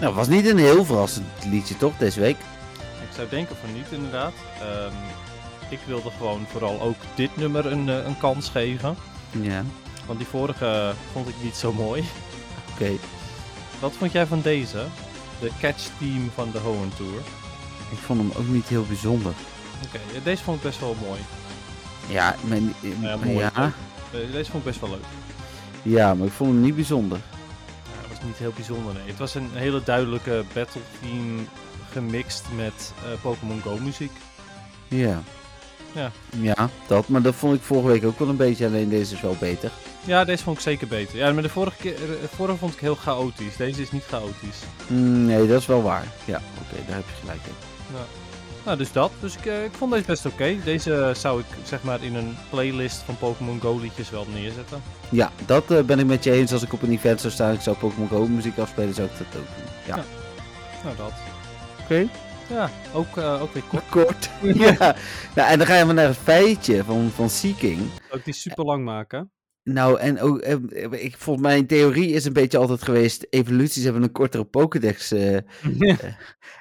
C: Nou, het was niet een heel verrassend liedje toch deze week?
E: Ik zou denken van niet, inderdaad. Ehm, ik wilde gewoon vooral ook dit nummer een, eh, een kans geven.
C: Ja,
E: Want die vorige vond ik niet zo mooi.
C: oké.
E: Wat vond jij van deze? De catch team van de Hohen Tour. Oké,
C: Ik vond hem ook niet heel bijzonder.
E: ja, deze vond ik best wel mooi.
C: Ja, mijn,
E: Ja, mooi,
C: ja,
E: Eh, Deze vond ik best wel leuk.
C: ja, maar ik vond hem niet bijzonder.
E: Ja, het was niet heel bijzonder, nee. Het was een hele duidelijke battle team gemixt met eh, Pokémon Go muziek.
C: Ja.
E: Ja.
C: Ja, dat. Maar dat vond ik vorige week ook wel een beetje. Alleen deze is wel beter.
E: Ja, deze vond ik zeker beter. Ja, maar de vorige, keer, de vorige vond ik heel chaotisch. Deze is niet chaotisch.
C: Mm, nee, dat is wel waar. Ja, oké, daar heb je gelijk in.
E: Nou, dus dat. Dus ik, eh, ik vond deze best oké. Deze eh, zou ik zeg maar in een playlist van Pokémon Go liedjes wel neerzetten.
C: Ja, dat eh, ben ik met je eens. Als ik op een event zou staan, ik zou Pokémon Go muziek afspelen, zou ik dat ook doen. Ja.
E: Ja. Nou, dat.
C: Oké.
E: Ja, ook, eh, ook weer kort.
C: Kort. ja. Nou, en dan ga je maar naar het feitje van, van Seeking.
E: Ook die super lang maken.
C: Nou, en ook, eh, eh, ik, volgens mijn theorie is een beetje altijd geweest, evoluties hebben een kortere Pokédex. eh,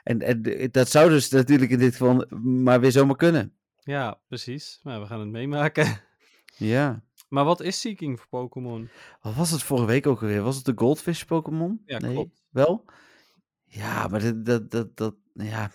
C: en, en eh, dat zou dus natuurlijk in dit geval maar weer zomaar kunnen.
D: Ja, precies. Maar we gaan het meemaken.
C: Ja.
D: Maar wat is Seeking voor Pokémon?
C: Wat was het vorige week ook alweer? Was het de Goldfish Pokémon?
D: Ja, klopt.
C: Wel? Ja, maar dat, dat, dat, dat ja.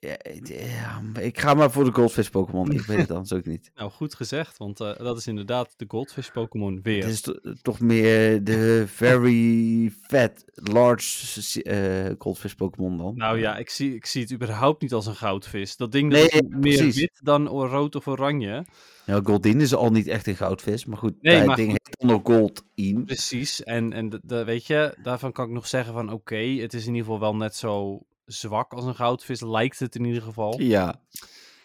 C: Ja, ja, maar ik ga maar voor de Goldfish Pokémon. Ik weet het anders ook niet.
D: Nou, goed gezegd, want eh, dat is inderdaad de Goldfish Pokémon
C: Het
D: weer.
C: is to- toch meer de very fat, large eh Goldfish Pokémon dan.
D: Nou ja, ik zie, ik zie het überhaupt niet als een goudvis. Dat ding
C: Nee,
D: dat is meer
C: precies.
D: wit dan o- rood of oranje.
C: Nou, Goldin is al niet echt een goudvis, maar goed,
D: Nee,
C: dat
D: maar
C: ding heet dan ook Goldin.
D: Precies. En, en d- d- weet je, daarvan kan ik nog zeggen van oké, het is in ieder geval wel net zo zwak als een goudvis. Lijkt het in ieder geval.
C: Ja,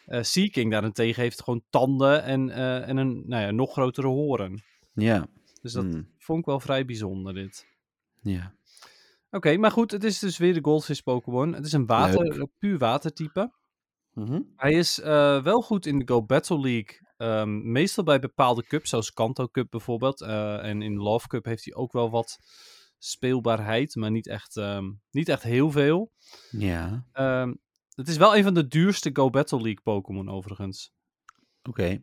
D: Eh Seeking daarentegen heeft gewoon tanden en, eh, en een nou ja, nog grotere horen.
C: ja,
D: Dus dat
C: Hmm.
D: vond ik wel vrij bijzonder dit.
C: ja.
D: Oké, maar goed, het is dus weer de Goldfish Pokémon. Het is een water, puur watertype.
C: Mhm.
D: Hij is eh, wel goed in de Go Battle League. ehm, meestal bij bepaalde cups, zoals Kanto Cup bijvoorbeeld. eh, en in Love Cup heeft hij ook wel wat speelbaarheid, maar niet echt, ehm, niet echt heel veel.
C: Ja,
D: Ehm, het is wel een van de duurste Go Battle League Pokémon overigens.
C: oké.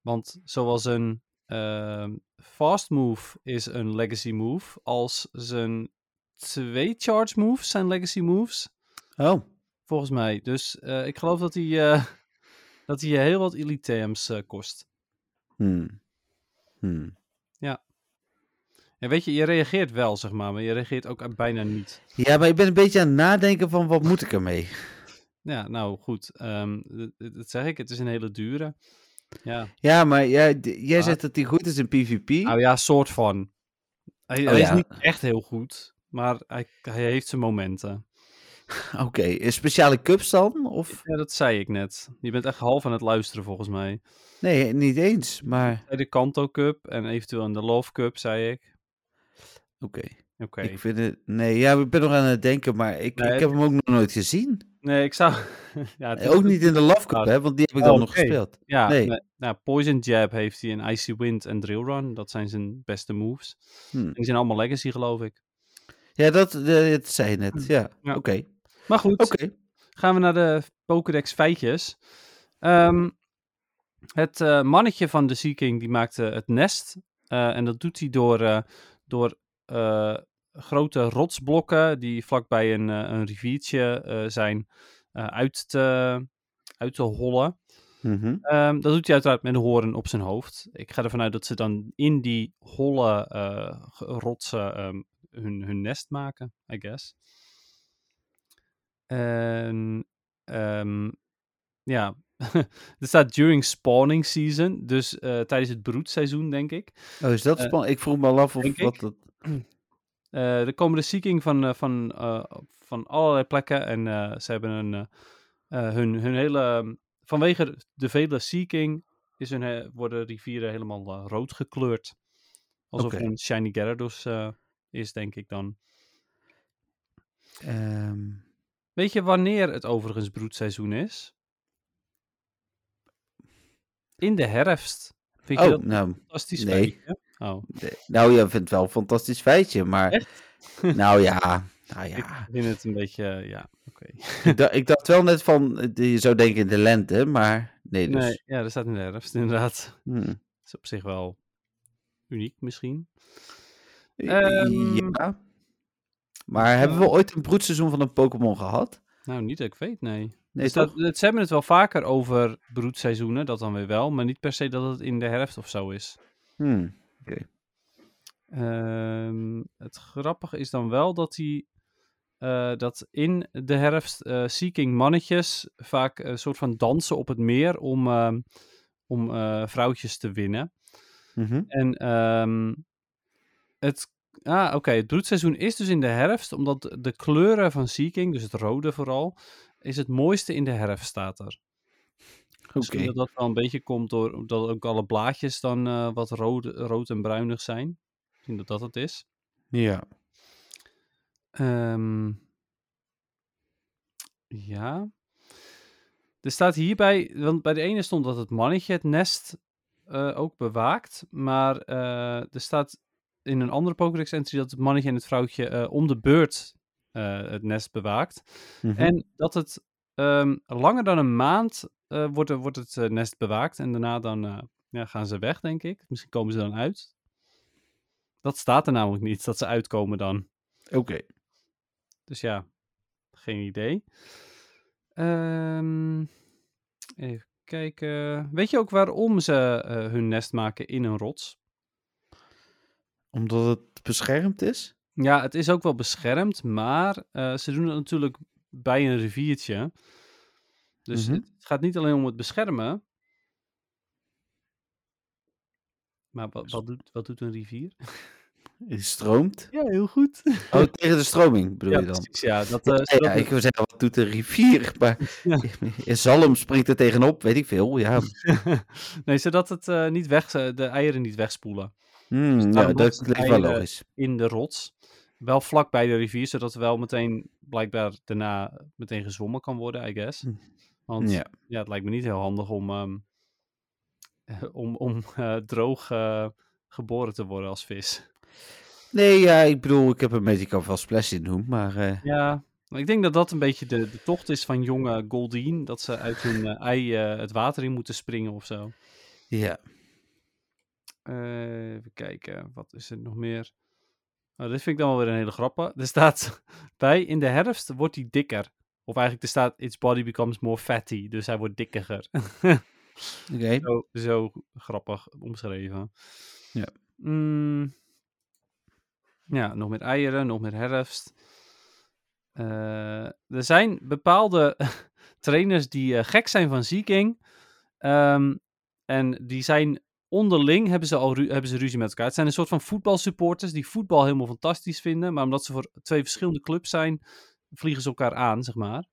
D: Want zoals een ehm, fast move is een legacy move, als zijn twee charge moves zijn legacy moves.
C: Oh,
D: Volgens mij. Dus eh, ik geloof dat hij, eh, dat hij eh, heel wat Elitems eh, kost.
C: hmm. Hmm.
D: En weet je, je reageert wel, zeg maar, maar je reageert ook eh, bijna niet.
C: Ja, maar ik ben een beetje aan het nadenken van wat moet ik ermee?
D: Ja, nou goed. ehm, d- d- dat zeg ik, het is een hele dure. Ja,
C: Ja, maar jij, d- jij
D: Maar-
C: zegt dat die goed is in PvP.
D: nou ja, soort van. Hij,
C: Oh
D: hij
C: ja.
D: is niet echt heel goed, maar hij, hij heeft zijn momenten.
C: Oké, eh, speciale cups dan? Of?
D: Ja, dat zei ik net. Je bent echt half aan het luisteren, volgens mij.
C: Nee, niet eens, maar
D: Bij de Kanto Cup en eventueel in de Love Cup, zei ik.
C: oké.
D: Oké.
C: Ik vind het... Nee, ja, ik ben nog aan het denken, maar ik,
D: Nee,
C: ik heb hem ook nog nooit gezien.
D: Nee, ik zou... ja, het is-
C: Ook niet in de Love Cup,
D: Nou,
C: hè, want die heb ik
D: oh,
C: dan nog
D: oké.
C: gespeeld.
D: Ja,
C: Nee.
D: nee, nou, Poison Jab heeft hij en Icy Wind en Drill Run. Dat zijn zijn beste moves.
C: Hmm.
D: En die zijn allemaal legacy, geloof ik.
C: Ja, dat, eh, dat zei je net. Ja,
D: Ja.
C: oké.
D: Maar goed,
C: Oké.
D: gaan we naar de Pokédex feitjes. Ehm, het eh, mannetje van de Sea King die maakte het nest. eh, en dat doet hij door, eh, door eh, eh, grote rotsblokken die vlakbij een, eh, een riviertje eh, zijn eh, uit, te, uit te hollen.
C: Mhm.
D: Ehm, dat doet hij uiteraard met een hoorn op zijn hoofd. Ik ga ervan uit dat ze dan in die holle eh, ge- rotsen ehm, hun, hun nest maken, I guess. En, ehm, ja, er staat during spawning season, dus eh, tijdens het broedseizoen, denk ik.
C: Oh, is dat
D: Eh,
C: spannend? Ik vroeg me al af of
D: denk
C: wat
D: ik.
C: dat...
D: Eh, er komen de seeking van, eh, van, eh, van allerlei plekken. En eh, ze hebben een, eh, eh, hun, hun hele. ehm, Vanwege de vele seeking is hun, eh, worden rivieren helemaal eh, rood gekleurd. Alsof
C: Oké.
D: er een Shiny Gyarados eh, is, denk ik dan.
C: ehm,
D: Weet je wanneer het overigens broedseizoen is? In de herfst. Vind je
C: oh,
D: dat een
C: nou,
D: fantastisch?
C: nee.
D: feitje? Oh,
C: de- nou, je vindt het wel een fantastisch feitje, maar... nou ja, nou
D: ik
C: ja.
D: vind het een beetje, eh, ja, oké.
C: ik, dacht, ik dacht wel net van, eh, je zou denken in de lente, maar nee dus.
D: Nee, ja, dat staat in de herfst, inderdaad.
C: Hmm.
D: is op zich wel uniek misschien.
C: Eh,
D: ehm,
C: ja. Maar hebben we ooit een broedseizoen van een Pokémon gehad?
D: Nou, niet dat ik weet, nee.
C: Nee,
D: Dus
C: toch?
D: dat, dat- ze hebben het wel vaker over broedseizoenen, dat dan weer wel. Maar niet per se dat het in de herfst of zo is.
C: Hmm.
D: Ehm, het grappige is dan wel dat die... eh, dat in de herfst eh seeking mannetjes vaak een soort van dansen op het meer om, ehm, om eh, vrouwtjes te winnen.
C: Mhm.
D: En ehm, het, ah, oké, het broedseizoen is dus in de herfst, omdat de- de kleuren van Seeking, dus het rode vooral, is het mooiste in de herfst, staat er.
C: Oké.
D: Misschien dat dat wel een beetje komt door dat ook alle blaadjes dan eh, wat rood, rood en bruinig zijn. Misschien dat dat het is.
C: Ja.
D: Ehm, ja. Er staat hierbij, want bij de ene stond dat het mannetje het nest eh, ook bewaakt. Maar eh, er staat in een andere Pokédex entry dat het mannetje en het vrouwtje eh, om de beurt eh, het nest bewaakt.
C: Mhm.
D: En dat het ehm, langer dan een maand eh, wordt, er- wordt het eh, nest bewaakt. En daarna dan eh, ja, gaan ze weg, denk ik. Misschien komen ze dan uit. Dat staat er namelijk niet, dat ze uitkomen dan.
C: Oké.
D: Dus ja, geen idee. Ehm, even kijken. Weet je ook waarom ze eh, hun nest maken in een rots?
C: Omdat het beschermd is?
D: Ja, het is ook wel beschermd, maar eh, ze doen het natuurlijk bij een riviertje. Dus
C: Mhm.
D: het gaat niet alleen om het beschermen. Maar wat, wat, doet, wat doet een rivier?
C: Het stroomt?
D: Ja, heel goed.
C: Oh, tegen de stroming bedoel
D: Ja,
C: je dan?
D: precies. Ja, dat, eh,
C: Ja,
D: zodat
C: ja,
D: het-
C: ik wil zeggen, wat doet de rivier? Maar
D: Ja.
C: in Zalm springt er tegenop, weet ik veel. Ja,
D: nee, zodat het eh, niet weg, de eieren niet wegspoelen.
C: Hmm,
D: daarom
C: ja
D: wordt
C: dat
D: het
C: klinkt wel
D: einde-
C: logisch.
D: in de rots. Wel vlak bij de rivier, zodat er wel meteen blijkbaar daarna meteen gezwommen kan worden, I guess.
C: Hm.
D: Want ja,
C: Ja.
D: het lijkt me niet heel handig om, ehm, om, om eh, droog eh, geboren te worden als vis.
C: Nee, ja, ik bedoel, ik heb een beetje, ik kan wel splash in doen, maar... eh,
D: Ja, maar ik denk dat dat een beetje de, de tocht is van jonge Goldeen. Dat ze uit hun eh, ei eh, het water in moeten springen of zo.
C: ja.
D: Eh, even kijken, wat is er nog meer? Nou, dit vind ik dan wel weer een hele grappige. Er staat bij, in de herfst wordt hij dikker. Of eigenlijk er staat, its body becomes more fatty. Dus hij wordt dikkiger.
C: Oké.
D: zo, zo grappig omschreven.
C: Ja.
D: Mm. ja, nog meer eieren, nog meer herfst. Eh, er zijn bepaalde trainers die eh, gek zijn van Seeking. Ehm, en die zijn onderling hebben ze al ru- hebben ze ruzie met elkaar. Het zijn een soort van voetbalsupporters die voetbal helemaal fantastisch vinden. Maar omdat ze voor twee verschillende clubs zijn, vliegen ze elkaar aan, zeg maar.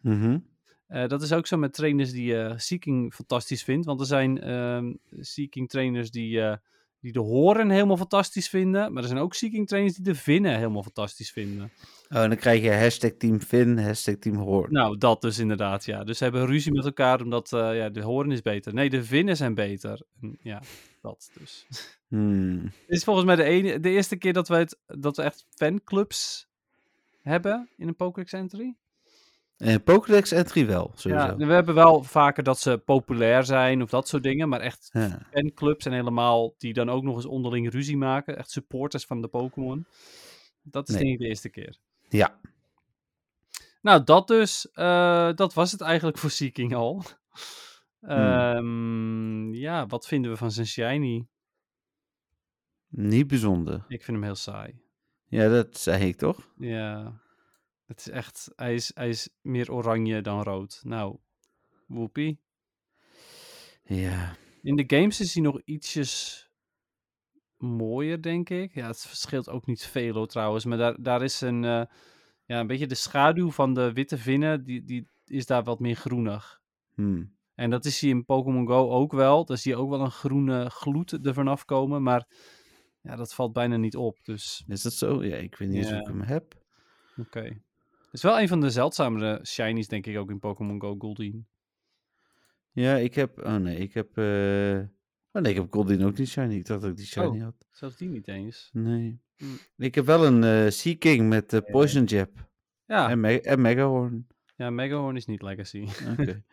C: Mhm.
D: Eh, dat is ook zo met trainers die eh, Seeking fantastisch vindt. Want er zijn ehm, Seeking trainers die, eh, die de horen helemaal fantastisch vinden. Maar er zijn ook Seeking trainers die de vinnen helemaal fantastisch vinden.
C: Oh, en dan krijg je hashtag Team Finn, hashtag Team Hoorn.
D: Nou, dat dus inderdaad, ja. Dus ze hebben ruzie met elkaar omdat eh, ja, de horen is beter. Nee, de vinnen zijn beter. En ja, dat dus.
C: Hmm.
D: Dit is volgens mij de, ene, de eerste keer dat we, het, dat we echt fanclubs hebben in een Pokédex entry.
C: En Pokédex entry wel, sowieso.
D: Ja, we hebben wel vaker dat ze populair zijn of dat soort dingen. Maar echt
C: Ja.
D: fanclubs en helemaal die dan ook nog eens onderling ruzie maken. Echt supporters van de Pokémon. Dat is
C: Nee.
D: denk ik de eerste keer.
C: Ja.
D: Nou, dat dus. eh, dat was het eigenlijk voor Seeking al. Ehm, Ja, wat vinden we van zijn shiny?
C: Niet bijzonder.
D: Ik vind hem heel saai.
C: Ja, dat zei ik toch?
D: Ja. Het is echt... Hij is, hij is meer oranje dan rood. Nou, woepie.
C: Ja.
D: In de games is hij nog ietsjes mooier, denk ik. Ja, het verschilt ook niet veel hoor, trouwens. Maar daar, daar is een, eh, ja, een beetje de schaduw van de witte vinnen, die, die is daar wat meer groenig.
C: Hm.
D: En dat is hier in Pokémon Go ook wel. Daar zie je ook wel een groene gloed er vanaf komen. Maar ja, dat valt bijna niet op. Dus
C: Is dat zo? Ja, ik weet niet eens
D: Ja.
C: of ik hem heb.
D: oké. Het is wel een van de zeldzamere shinies, denk ik, ook in Pokémon Go Goldeen.
C: Ja, ik heb... Oh nee, ik heb... eh, Oh nee, ik heb Goldin ook niet shiny. Ik dacht dat ik die shiny
D: Oh.
C: had.
D: Zelfs die niet eens.
C: Nee.
D: Hm.
C: Ik heb wel een eh, Sea King met eh, Poison Jab
D: Ja,
C: en, me en Megahorn.
D: ja Megahorn is niet legacy.
C: Oké.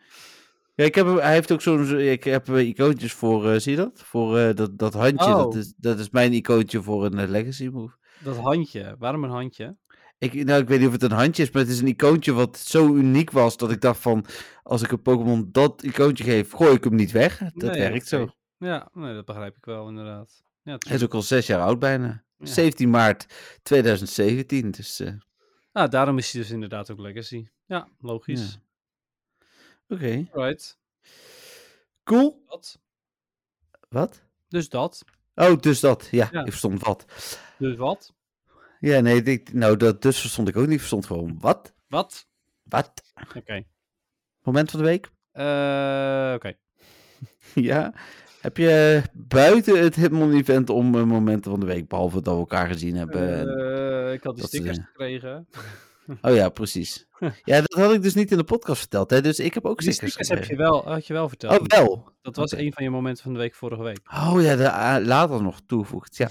C: ja, ik heb, hem- hij heeft ook zo'n... zo- Ik heb eh, icoontjes voor... eh, zie je dat? Voor eh, dat, dat handje. Dat,
D: Oh.
C: is, dat is mijn icoontje voor een eh, Legacy move.
D: Dat handje. Waarom een handje?
C: Ik, nou, ik weet niet of het een handje is, maar het is een icoontje wat zo uniek was dat ik dacht van... Als ik een Pokémon dat icoontje geef, gooi ik hem niet weg. Dat
D: Nee,
C: werkt zo.
D: oké. Ja, nee, dat begrijp ik wel, inderdaad. Ja,
C: Hij is ook al zes jaar oud bijna.
D: Ja.
C: 17 maart 2017, dus... eh,
D: Ah, daarom is hij dus inderdaad ook legacy. Ja, logisch.
C: Oké.
D: Right.
C: Cool.
D: Dat.
C: Wat?
D: Dus dat.
C: Oh, dus dat. Ja,
D: Ja.
C: ik verstond wat.
D: Dus wat?
C: Ja, nee, ik, nou, dat dus verstond ik ook niet. Verstond gewoon wat?
D: Wat?
C: Wat?
D: Oké.
C: Moment van de week?
D: Eh, Oké.
C: ja. Heb je buiten het Hitmon event om eh, momenten van de week, behalve dat we elkaar gezien hebben? en-
D: Eh, ik had die
C: dat,
D: stickers
C: eh,
D: gekregen.
C: Oh ja, precies. ja, dat had ik dus niet in de podcast verteld, hè? Dus ik heb ook
D: Die
C: stickers.
D: stickers heb je
C: gekregen.
D: wel, had je wel verteld.
C: Oh, wel.
D: dat was
C: oké.
D: een van je momenten van de week vorige week.
C: Oh ja, de, ah, later nog toegevoegd. Ja.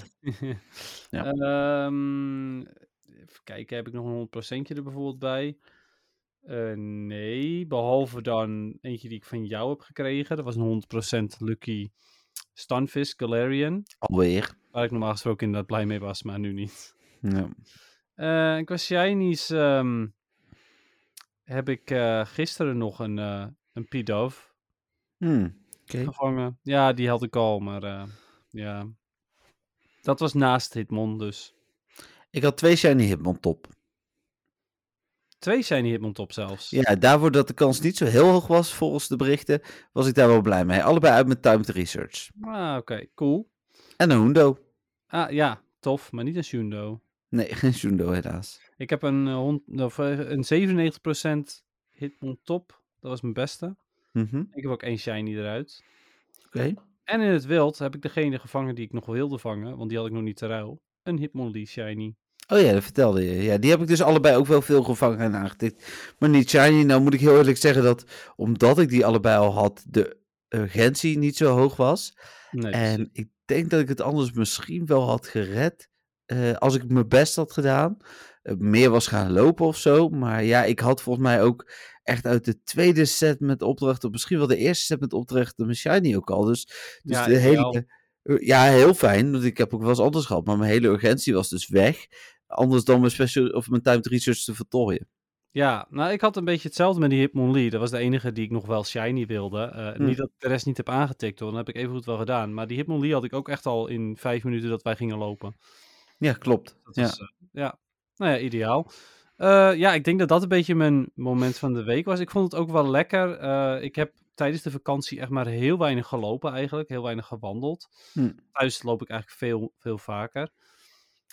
C: Ja.
D: Ehm, even kijken, heb ik nog een 100%je er bijvoorbeeld bij? Eh, nee, behalve dan eentje die ik van jou heb gekregen. Dat was een 100% Lucky Stunfish Galarian.
C: Alweer.
D: Waar ik normaal gesproken inderdaad blij mee was, maar nu niet.
C: Ja.
D: Eh qua shinies ehm, heb ik eh, gisteren nog een, eh een P-Dove
C: Hmm. Oké.
D: gevangen. Ja, die had ik al, maar eh, ja. Dat was naast Hitmon dus.
C: Ik had twee shiny Hitmon top.
D: Twee zijn Hitmon top zelfs.
C: Ja, daarvoor dat de kans niet zo heel hoog was volgens de berichten, was ik daar wel blij mee. Allebei uit mijn timed research.
D: Ah, oké, cool.
C: En een Hundo.
D: Ah, ja, tof, maar niet een Shundo.
C: Nee, geen Jundo helaas.
D: Ik heb een, eh, hond- of, eh, een 97% Hitmon top. Dat was mijn beste.
C: Mhm,
D: Ik heb ook één shiny eruit.
C: Oké.
D: En in het wild heb ik degene gevangen die ik nog wilde vangen, want die had ik nog niet te ruil. Een Hitmonlee shiny.
C: Oh ja, dat vertelde je. Ja, die heb ik dus allebei ook wel veel gevangen en aangetikt. Maar niet shiny. Nou moet ik heel eerlijk zeggen dat, omdat ik die allebei al had, de urgentie niet zo hoog was.
D: Nee,
C: En ik denk dat ik het anders misschien wel had gered. eh, als ik mijn best had gedaan. Eh, meer was gaan lopen of zo. Maar ja, ik had volgens mij ook echt uit de tweede set met opdrachten. Misschien wel de eerste set met opdrachten. Mijn shiny ook al. Dus, dus
D: Ja,
C: de
D: ideaal.
C: hele. eh, Ja, heel fijn. Want ik heb ook wel eens anders gehad. Maar mijn hele urgentie was dus weg. Anders dan mijn special of mijn timed research te voltooien.
D: Ja, nou ik had een beetje hetzelfde met die Hitmonlee. Dat was de enige die ik nog wel shiny wilde. Eh,
C: Hmm.
D: Niet dat ik de rest niet heb aangetikt hoor, dat heb ik even goed wel gedaan. Maar die Hitmonlee had ik ook echt al in vijf minuten dat wij gingen lopen.
C: Ja, klopt.
D: Dat
C: Ja.
D: was, eh, ja, nou ja, ideaal. Eh, ja, ik denk dat dat een beetje mijn moment van de week was. Ik vond het ook wel lekker. Eh, ik heb tijdens de vakantie echt maar heel weinig gelopen eigenlijk. Heel weinig gewandeld.
C: Hm.
D: Thuis loop ik eigenlijk veel, veel vaker.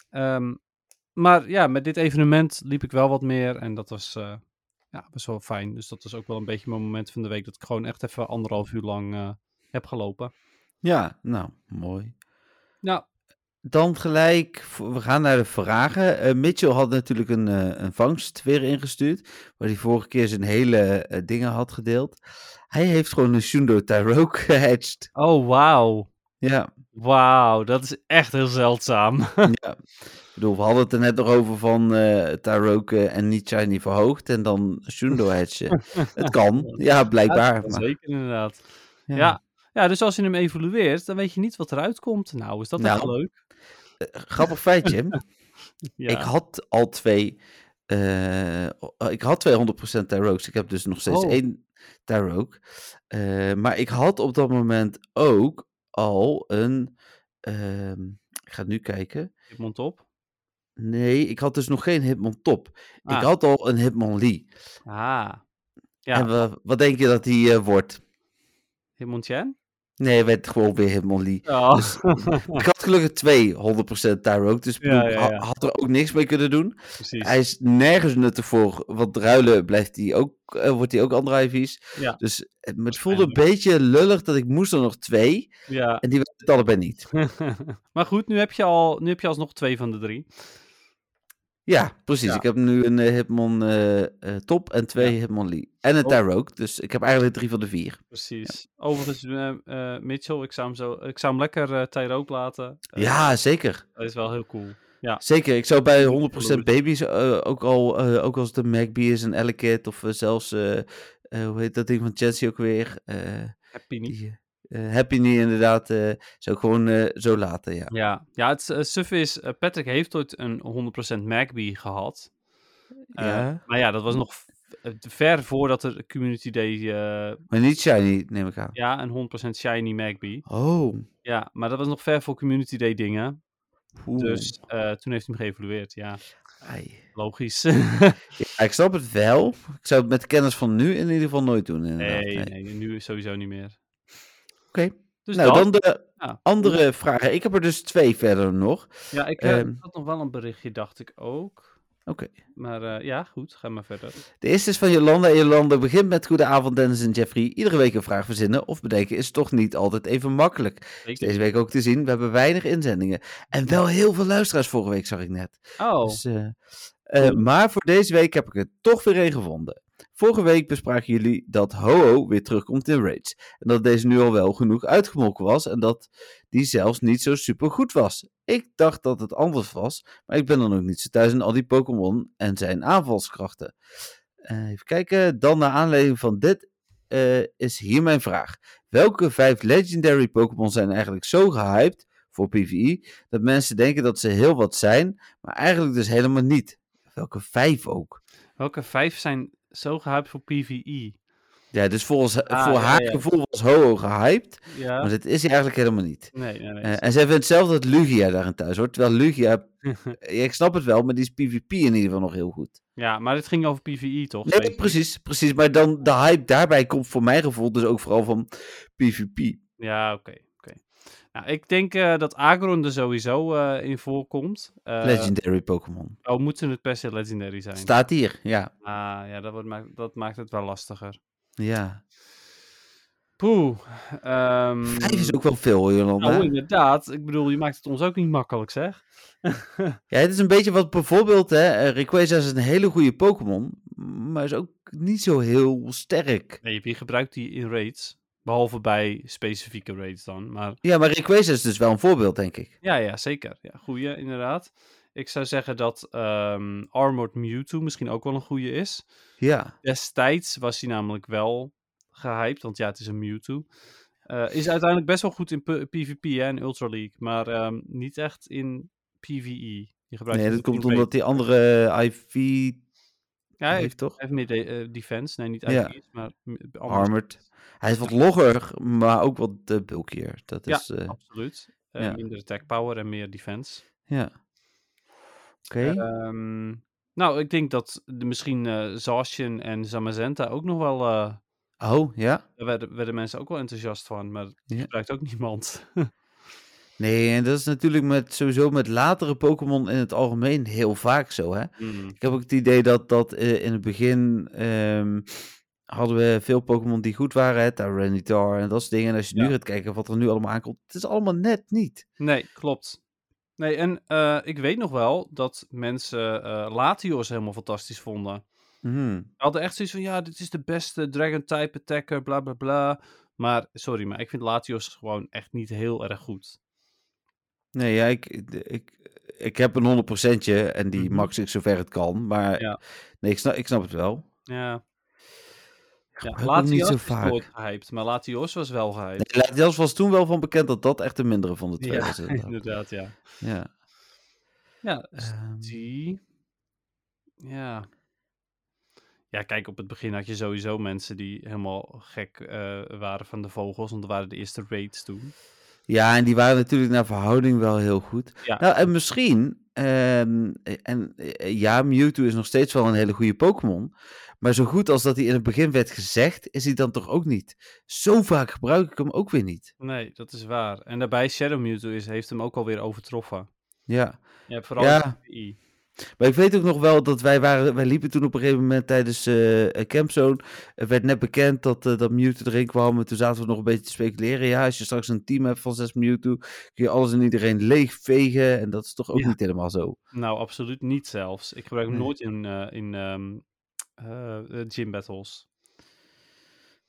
D: Ehm, maar ja, met dit evenement liep ik wel wat meer. En dat was eh, ja, best wel fijn. Dus dat was ook wel een beetje mijn moment van de week. Dat ik gewoon echt even anderhalf uur lang eh, heb gelopen.
C: ja, nou, mooi.
D: Nou,
C: Dan gelijk, v- we gaan naar de vragen. Eh, Mitchell had natuurlijk een, eh, een vangst weer ingestuurd, waar hij vorige keer zijn hele eh, dingen had gedeeld. Hij heeft gewoon een Shundo Tyroke gehedged.
D: oh wauw.
C: Ja,
D: Wauw, dat is echt heel zeldzaam.
C: ja. Ik bedoel, we hadden het er net nog over van eh Taroke en Nietzsche niet verhoogd en dan Shundo hatchen. het kan, ja, blijkbaar. maar-
D: Zeker inderdaad. Ja. Ja. dus als je hem evolueert, dan weet je niet wat eruit komt. Nou, is dat
C: Nou.
D: echt leuk?
C: Grappig feitje.
D: Ja.
C: Ik had al twee. eh, ik had 200% Tarokes. Ik heb dus nog steeds
D: Oh.
C: één Tarok. Eh, maar ik had op dat moment ook al een. ehm, ik ga nu kijken.
D: Ik mond op.
C: Nee, ik had dus nog geen Hitmon top.
D: Ah.
C: Ik had al een Hitmon Lee.
D: Ah, Ja.
C: En wa- wat denk je dat die eh, wordt?
D: Himon Chen?
C: Nee, hij werd gewoon weer Hitmon Lee.
D: Ja.
C: Ik had gelukkig twee 100% Tarok. Dus ik
D: Oh. Ja,
C: bedoel, ik
D: ja,
C: ha-
D: ja.
C: had er ook niks mee kunnen doen.
D: precies.
C: Hij is nergens nuttig voor. Want ruilen blijft hij ook, eh, wordt hij ook andere IV's.
D: Ja.
C: Dus eh, het voelde een beetje lullig dat ik moest er nog twee.
D: Ja.
C: En die waren het allebei niet.
D: maar goed, nu heb, je al, nu heb je alsnog twee van de drie.
C: Ja, precies.
D: Ja.
C: Ik heb nu een eh, Hitmon eh, eh, top en twee Hitmon Lee. En een
D: Oh.
C: Tarok. Dus ik heb eigenlijk drie van de vier.
D: Precies. Overigens, eh, eh, Mitchell, ik zou hem, zo, ik zou hem lekker eh Tyrook laten. Eh,
C: Ja, zeker.
D: Dat is wel heel cool.
C: Zeker. Ik zou bij 100%
D: Jaloers.
C: baby's, eh, ook al eh, ook als het een Magby is, een Ellicott of eh, zelfs, eh, eh, hoe heet dat ding van Chelsea ook weer? Eh,
D: Happy niet.
C: die, eh, Happy Knee inderdaad. eh zou ik gewoon eh, zo laten, ja.
D: Ja, ja het eh, suffe is, eh, Patrick heeft ooit een 100% Magby gehad. Eh,
C: Ja.
D: Maar ja, dat was nog v- eh, ver voordat er Community Day... eh,
C: Maar niet shiny, neem ik aan.
D: ja, een 100% Shiny Magby.
C: Oh.
D: Ja, maar dat was nog ver voor Community Day dingen.
C: Oeh.
D: Dus eh, toen heeft hij hem geëvalueerd. Ja,
C: Ai.
D: logisch.
C: Nou, Ja, ik snap het wel. Ik zou het met de kennis van nu in ieder geval nooit doen. inderdaad.
D: nee,
C: Nee.
D: nee, nu sowieso niet meer.
C: Oké.
D: Dus
C: nou,
D: dat.
C: dan de
D: Ja.
C: andere vragen. Ik heb er dus twee verder nog.
D: Ja, ik eh,
C: Ehm.
D: had nog wel een berichtje, dacht ik ook.
C: Oké.
D: Maar eh, ja, goed, ga maar verder.
C: De eerste is van Jolanda. En Jolanda begint met Goedenavond Dennis en Jeffrey. Iedere week een vraag verzinnen of bedenken is toch niet altijd even makkelijk.
D: Zeker.
C: Is deze week ook te zien. We hebben weinig inzendingen. En wel heel veel luisteraars vorige week, zag ik net.
D: Oh,
C: Dus, eh, eh, maar voor deze week heb ik er toch weer een gevonden. Vorige week bespraken jullie dat Ho-Oh weer terugkomt in Raids. En dat deze nu al wel genoeg uitgemolken was en dat die zelfs niet zo super goed was. Ik dacht dat het anders was, maar ik ben dan ook niet zo thuis in al die Pokémon en zijn aanvalskrachten. Eh, even kijken, dan naar aanleiding van dit eh, is hier mijn vraag. Welke vijf legendary Pokémon zijn eigenlijk zo gehyped voor PvE dat mensen denken dat ze heel wat zijn, maar eigenlijk dus helemaal niet. Welke vijf ook.
D: welke vijf zijn zo gehyped voor E? PvE?
C: Ja, dus volgens,
D: Ah,
C: voor
D: ja,
C: haar
D: ja.
C: gevoel was ho gehyped,
D: Ja,
C: maar dat is hij eigenlijk helemaal niet.
D: nee, nee, nee.
C: Eh, en zij vindt zelf dat Lugia daarin thuis hoort, terwijl Lugia, ja, ik snap het wel, maar die is PvP in ieder geval nog heel goed.
D: ja, maar dit ging over PvE, toch?
C: Nee,
D: Twee.
C: precies, precies, maar dan de hype daarbij komt voor mijn gevoel dus ook vooral van PvP.
D: Ja, oké. oké. Nou, ik denk eh, dat Agron er sowieso eh, in voorkomt. Eh,
C: Legendary Pokémon.
D: Oh, moeten het per se legendary zijn?
C: Staat hier, ja.
D: Ah, ja, dat, wordt, maakt- dat maakt het wel lastiger.
C: Ja.
D: Poeh. ehm,
C: Vijf is ook wel veel hoor, Jolanda.
D: Nou, inderdaad. Ik bedoel, je maakt het ons ook niet makkelijk, zeg.
C: Ja, het is een beetje wat bijvoorbeeld, hè, eh, Rayquaza is een hele goede Pokémon, maar is ook niet zo heel sterk.
D: Nee, wie gebruikt die in raids? Behalve bij specifieke raids dan. Maar
C: Ja, maar Rayquaza is dus wel een voorbeeld, denk ik.
D: ja, ja zeker. Ja, goeie, inderdaad. Ik zou zeggen dat ehm, Armored Mewtwo misschien ook wel een goeie is.
C: Ja.
D: Destijds was hij namelijk wel gehyped, want ja, het is een Mewtwo. Eh, is uiteindelijk best wel goed in P- PvP hè, en Ultra League, maar ehm, niet echt in PvE. Je gebruikt
C: Nee,
D: hem
C: dat
D: niet in
C: komt
D: raid.
C: omdat die andere eh, IV
D: Ja, hij
C: heeft, toch?
D: heeft meer de- eh, defense. Nee, niet
C: Ja.
D: IV's, maar m- anders.
C: Armored. Hij is wat logger, maar ook wat eh, bulkier. Dat
D: Ja,
C: is, eh,
D: absoluut. Eh,
C: ja.
D: Minder attack power en meer defense.
C: ja. Oké.
D: Ehm, nou, ik denk dat de, misschien eh Zacian en Zamazenta ook nog wel... eh,
C: oh, ja.
D: daar werden, werden mensen ook wel enthousiast van, maar dat
C: Ja.
D: gebruikt ook niemand.
C: Nee, en dat is natuurlijk met, sowieso met latere Pokémon in het algemeen heel vaak zo, hè?
D: Mm.
C: Ik heb ook het idee dat dat eh, in het begin ehm, hadden we veel Pokémon die goed waren, hè, Tyranitar en dat soort dingen. En als je nu
D: Ja.
C: gaat kijken wat er nu allemaal aankomt, het is allemaal net niet.
D: Nee, klopt. Nee, en eh, ik weet nog wel dat mensen eh Latios helemaal fantastisch vonden.
C: Hmm.
D: Mhm. Ze hadden echt zoiets van, ja, dit is de beste Dragon-type attacker, bla bla bla. Maar sorry, maar ik vind Latios gewoon echt niet heel erg goed.
C: Nee, ja, ik, de- ik, ik heb een 100 procentje en die
D: Mhm.
C: max ik zover het kan. Maar
D: Ja.
C: nee, ik snap, ik snap het wel.
D: Ja. ja
C: hem niet zo
D: is
C: vaak.
D: nooit gehyped, maar Latios was wel gehyped.
C: Nee, Latias was toen wel van bekend dat dat echt de mindere van de twee
D: ja,
C: was. inderdaad.
D: inderdaad, ja.
C: Ja.
D: Ja,
C: Ehm,
D: Die. Ja. Ja, kijk, op het begin had je sowieso mensen die helemaal gek eh, waren van de vogels, want dat waren de eerste raids toen.
C: ja, en die waren natuurlijk naar verhouding wel heel goed.
D: Ja.
C: Nou, en misschien, ehm, en, eh, ja, Mewtwo is nog steeds wel een hele goede Pokémon. Maar zo goed als dat hij in het begin werd gezegd, is hij dan toch ook niet. Zo vaak gebruik ik hem ook weer niet.
D: Nee, dat is waar. En daarbij Shadow Mewtwo is, heeft hem ook alweer overtroffen.
C: Ja.
D: Ja, vooral
C: Ja.
D: in de I.
C: Maar ik weet ook nog wel dat wij waren, wij liepen toen op een gegeven moment tijdens eh, eh, Campzone. Het werd net bekend dat, eh, dat Mewtwo erin kwam. En toen zaten we nog een beetje te speculeren. Ja, als je straks een team hebt van zes Mewtwo, kun je alles en iedereen leegvegen. En dat is toch ook
D: Ja.
C: niet helemaal zo.
D: Nou, absoluut niet zelfs. Ik gebruik hem
C: Nee.
D: nooit in, eh, in ehm, eh, eh, gym battles.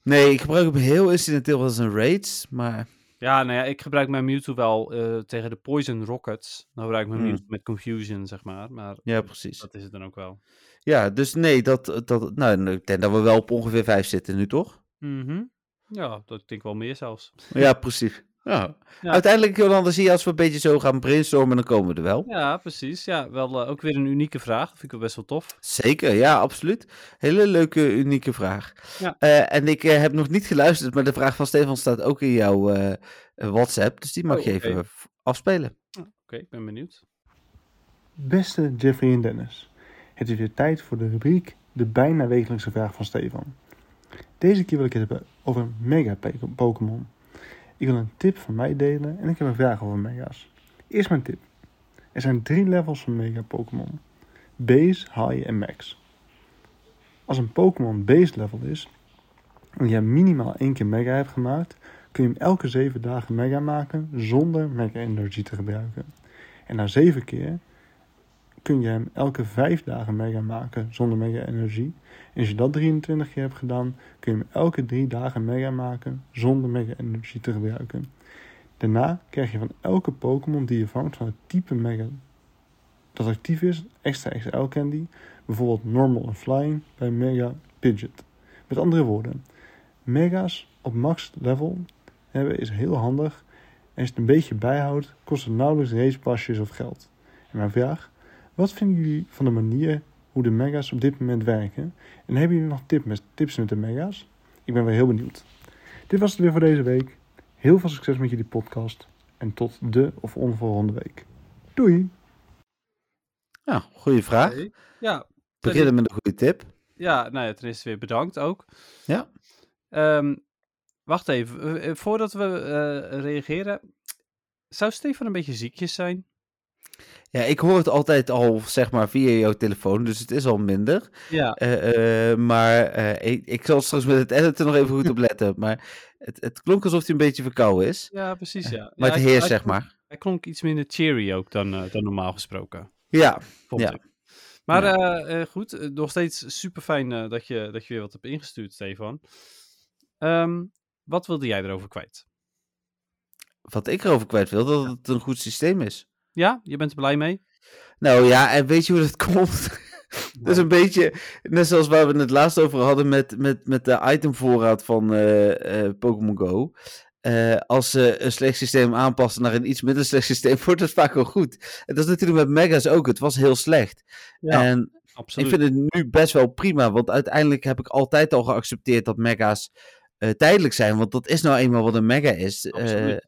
C: Nee, ik gebruik hem heel incidenteel als een raids. Maar
D: Ja, nou ja, ik gebruik mijn Mewtwo wel eh, tegen de Poison Rockets. Dan gebruik ik mijn
C: Hmm.
D: Mewtwo met Confusion, zeg maar. Maar
C: ja, precies.
D: dat is het dan ook wel.
C: Ja, dus nee, dat, dat, nou, ik denk dat we wel op ongeveer vijf zitten nu, toch?
D: Mhm. Ja, dat denk ik wel meer zelfs.
C: Ja, precies. Ja.
D: Ja.
C: Uiteindelijk, Jolanda, zie je als we een beetje zo gaan brainstormen, dan komen we er wel.
D: Ja, precies. Ja, wel eh, ook weer een unieke vraag. Vind ik wel best wel tof.
C: Zeker, ja, absoluut. Hele leuke, unieke vraag.
D: Ja.
C: Eh, en ik eh, heb nog niet geluisterd, maar de vraag van Stefan staat ook in jouw eh, eh, WhatsApp. Dus die mag
D: Oh,
C: je
D: oké.
C: even v- afspelen.
D: Oké, ik ben benieuwd.
F: Beste Jeffrey en Dennis, het is weer tijd voor de rubriek De bijna wekelijkse vraag van Stefan. Deze keer wil ik het hebben over Mega Pe- Pokémon. Ik wil een tip van mij delen en ik heb een vraag over Mega's. Eerst mijn tip. Er zijn drie levels van Mega Pokémon. Base, High en Max. Als een Pokémon Base level is en je minimaal één keer Mega hebt gemaakt, kun je hem elke zeven dagen Mega maken zonder Mega Energy te gebruiken. En na zeven keer kun je hem elke vijf dagen mega maken zonder mega energie. En als je dat 23 keer hebt gedaan, kun je hem elke drie dagen mega maken zonder mega energie te gebruiken. Daarna krijg je van elke Pokémon die je vangt van het type mega dat actief is, extra XL candy, bijvoorbeeld normal en flying bij mega Pidget. Met andere woorden, mega's op max level hebben is heel handig en als je het een beetje bijhoudt, kost het nauwelijks racepasjes of geld. En mijn vraag, wat vinden jullie van de manier hoe de mega's op dit moment werken? En hebben jullie nog tip met, tips met de mega's? Ik ben wel heel benieuwd. Dit was het weer voor deze week. Heel veel succes met jullie podcast. En tot de of onvolgende week. Doei!
C: Ja, goede vraag.
D: Oké. Ja, dus
C: Beginnen met een goede tip.
D: ja, nou ja, ten eerste weer bedankt ook.
C: Ja.
D: Ehm, wacht even. eh, eh, voordat we eh, reageren. Zou Stefan een beetje ziekjes zijn?
C: Ja, ik hoor het altijd al, zeg maar, via jouw telefoon, dus het is al minder.
D: Ja.
C: Eh, eh, maar eh, ik, ik zal straks met het editen nog even goed op letten. Maar het, het klonk alsof hij een beetje verkouden is.
D: Ja, precies, ja.
C: Maar het
D: Ja, hij-
C: heerst,
D: hij
C: zeg
D: klonk-
C: maar.
D: Hij klonk iets minder cheery ook dan, eh, dan normaal gesproken.
C: Ja,
D: Vond
C: Ja.
D: ik. Maar eh, eh, goed, eh, nog steeds super fijn dat, je, dat je weer wat hebt ingestuurd, Stefan. Ehm, wat wilde jij erover kwijt?
C: wat ik erover kwijt wil, dat het een goed systeem is.
D: Ja, je bent er blij mee?
C: Nou ja, en weet je hoe dat komt? dat is een beetje net zoals waar we het laatst over hadden met, met, met de itemvoorraad van eh, eh, Pokémon Go. Eh, als ze een slecht systeem aanpassen naar een iets minder slecht systeem, wordt het vaak wel goed. En dat is natuurlijk met Megas ook. Het was heel slecht.
D: Ja,
C: en
D: absoluut.
C: ik vind het nu best wel prima, want uiteindelijk heb ik altijd al geaccepteerd dat mega's eh, tijdelijk zijn, want dat is nou eenmaal wat een mega is. Eh,
D: Absoluut.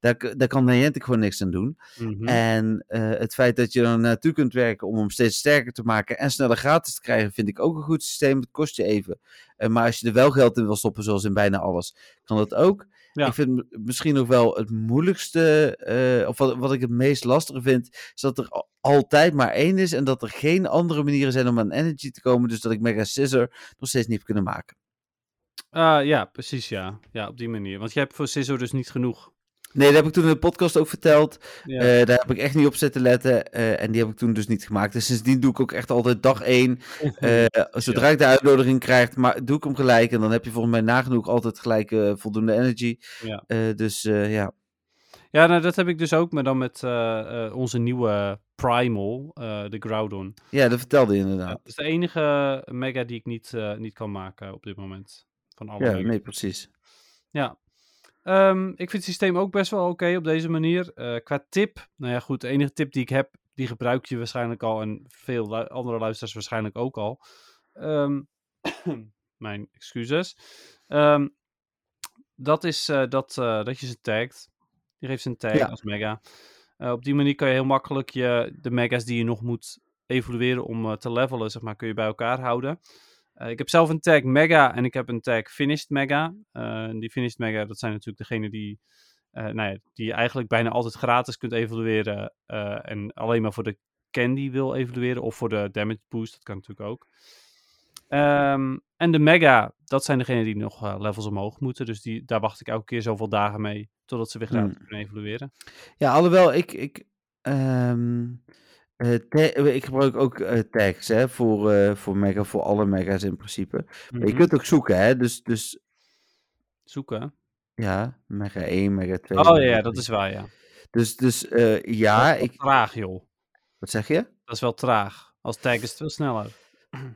C: daar, k- daar kan Niantic gewoon niks aan doen.
D: Mhm.
C: En eh, het feit dat je er naartoe kunt werken om hem steeds sterker te maken en sneller gratis te krijgen, vind ik ook een goed systeem. Het kost je even. Eh, maar als je er wel geld in wil stoppen, zoals in bijna alles, kan dat ook.
D: Ja.
C: Ik vind m- misschien nog wel het moeilijkste, eh, of wat, wat ik het meest lastige vind, is dat er al- altijd maar één is en dat er geen andere manieren zijn om aan energy te komen. Dus dat ik Mega Scissor nog steeds niet heb kunnen maken.
D: Ah, ja, precies, ja. Ja, op die manier. Want jij hebt voor Siso dus niet genoeg.
C: Nee, dat heb ik toen in de podcast ook verteld.
D: Ja.
C: Eh, daar heb ik echt niet op zitten letten. eh, en die heb ik toen dus niet gemaakt. Dus sindsdien doe ik ook echt altijd dag één. eh, zodra ik de uitnodiging krijg, maar doe ik hem gelijk. En dan heb je volgens mij nagenoeg altijd gelijk eh, voldoende energy.
D: Ja.
C: Eh, dus eh, ja.
D: Ja, nou, dat heb ik dus ook, maar dan met eh, eh, onze nieuwe Primal, eh, de Groudon.
C: ja, dat vertelde je
D: Ja,
C: inderdaad.
D: dat is de enige mega die ik niet, eh, niet kan maken op dit moment. Van alle
C: Ja,
D: mega.
C: nee, precies.
D: Ja. Ehm, ik vind het systeem ook best wel oké op deze manier. Eh, qua tip, nou ja, goed, de enige tip die ik heb, die gebruik je waarschijnlijk al en veel lu- andere luisteraars waarschijnlijk ook al. Ehm, mijn excuses. Ehm, dat is eh, dat, eh, dat je ze tagt. Je geeft ze een tag
C: Ja.
D: als mega. Eh, op die manier kan je heel makkelijk je, de mega's die je nog moet evolueren om eh, te levelen, zeg maar, kun je bij elkaar houden. Eh, ik heb zelf een tag mega en ik heb een tag finished mega. Eh, en die finished mega, dat zijn natuurlijk degene die, eh, nou ja, die je eigenlijk bijna altijd gratis kunt evalueren. eh, en alleen maar voor de candy wil evalueren of voor de damage boost, dat kan natuurlijk ook. Ehm, en de mega, dat zijn degenen die nog eh, levels omhoog moeten. Dus die, daar wacht ik elke keer zoveel dagen mee totdat ze weer gratis kunnen evalueren.
C: Ja, alhoewel ik. ik ehm, eh, ta- ik gebruik ook eh, tags hè, voor, eh, voor mega, voor alle mega's in principe. Maar Je
D: Mhm.
C: kunt ook zoeken, hè? Dus, dus
D: Zoeken.
C: ja, mega 1, mega 2.
D: Oh ja,
C: mega
D: ja, dat
C: 3.
D: is waar, ja.
C: Dus, dus eh, ja,
D: dat is wel
C: ik,
D: traag, joh.
C: wat zeg je?
D: Dat is wel traag. Als tag is het veel sneller.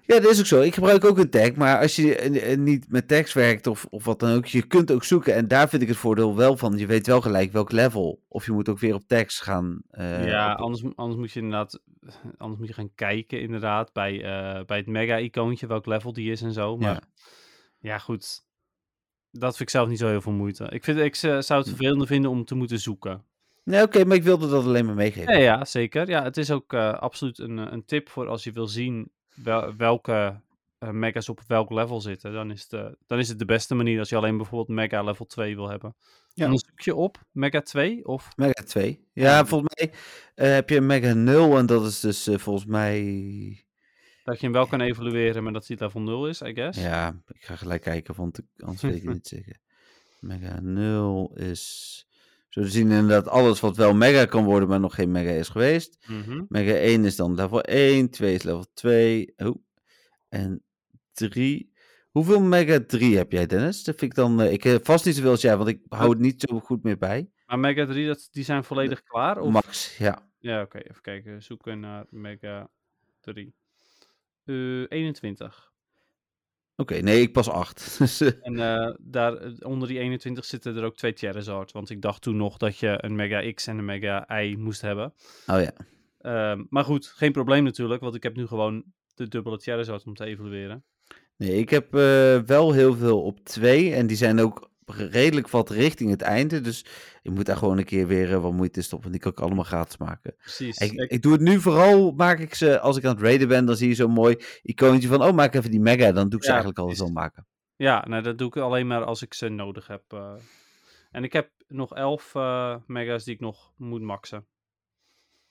C: Ja, dat is ook zo. Ik gebruik ook een tag, maar als je eh, eh, niet met tags werkt of, of wat dan ook, je kunt ook zoeken. En daar vind ik het voordeel wel van. Je weet wel gelijk welk level. Of je moet ook weer op tags gaan. eh,
D: ja,
C: op-
D: anders, mo- anders moet je inderdaad, anders moet je gaan kijken inderdaad bij, eh, bij het mega-icoontje, welk level die is en zo. Maar ja. goed, dat vind ik zelf niet zo heel veel moeite. Ik, vind, ik eh, zou het
C: Hm.
D: vervelender vinden om te moeten zoeken.
C: Nee, oké, maar ik wilde dat alleen maar meegeven.
D: Ja, ja zeker. Ja, het is ook eh, absoluut een, eh, een tip voor als je wil zien wel- welke eh, mega's op welk level zitten. Dan is, het, eh, dan is het de beste manier als je alleen bijvoorbeeld mega level 2 wil hebben.
C: Ja.
D: Dan zoek je op mega 2 of...
C: Mega 2. Ja, volgens mij eh, heb je een Mega 0 en dat is dus eh, volgens mij...
D: Dat je hem wel kan evalueren, maar dat hij level 0 is, I guess.
C: Ja, ik ga gelijk kijken, want ik- anders weet ik het niet zeker. Mega 0 is... Zo te zien inderdaad alles wat wel Mega kan worden, maar nog geen Mega is geweest.
D: Mhm.
C: Mega 1 is dan level 1, 2 is level 2. Oh. En 3. Hoeveel Mega 3 heb jij, Dennis? Dat vind ik dan. eh, ik heb vast niet zoveel als jij, want ik hou het niet zo goed meer bij.
D: Maar Mega 3, dat, die zijn volledig klaar? Of...
C: Max, ja.
D: Ja, oké, even kijken. Zoeken naar Mega 3. Eh, 21.
C: Oké, nee, ik pas 8. Dus, eh,
D: En eh, daar, eh, onder die 21 zitten er ook twee Charizard. Want ik dacht toen nog dat je een Mega X en een Mega Y moest hebben.
C: oh ja.
D: Ehm, maar goed, geen probleem natuurlijk. Want ik heb nu gewoon de dubbele Charizard om te evalueren.
C: Nee, ik heb eh, wel heel veel op 2. En die zijn ook redelijk wat richting het einde. Dus ik moet daar gewoon een keer weer eh, wat moeite in stoppen. Want die kan ik allemaal gratis maken.
D: Precies.
C: Ik,
D: Ik-
C: ik doe het nu vooral, maak ik ze, als ik aan het raiden ben, dan zie je zo'n mooi icoontje van, oh, maak even die mega, dan doe ik ze
D: Ja,
C: eigenlijk al
D: precies.
C: zo maken.
D: Ja, nou, dat doe ik alleen maar als ik ze nodig heb. eh. En ik heb nog 11 eh, Mega's die ik nog moet maxen.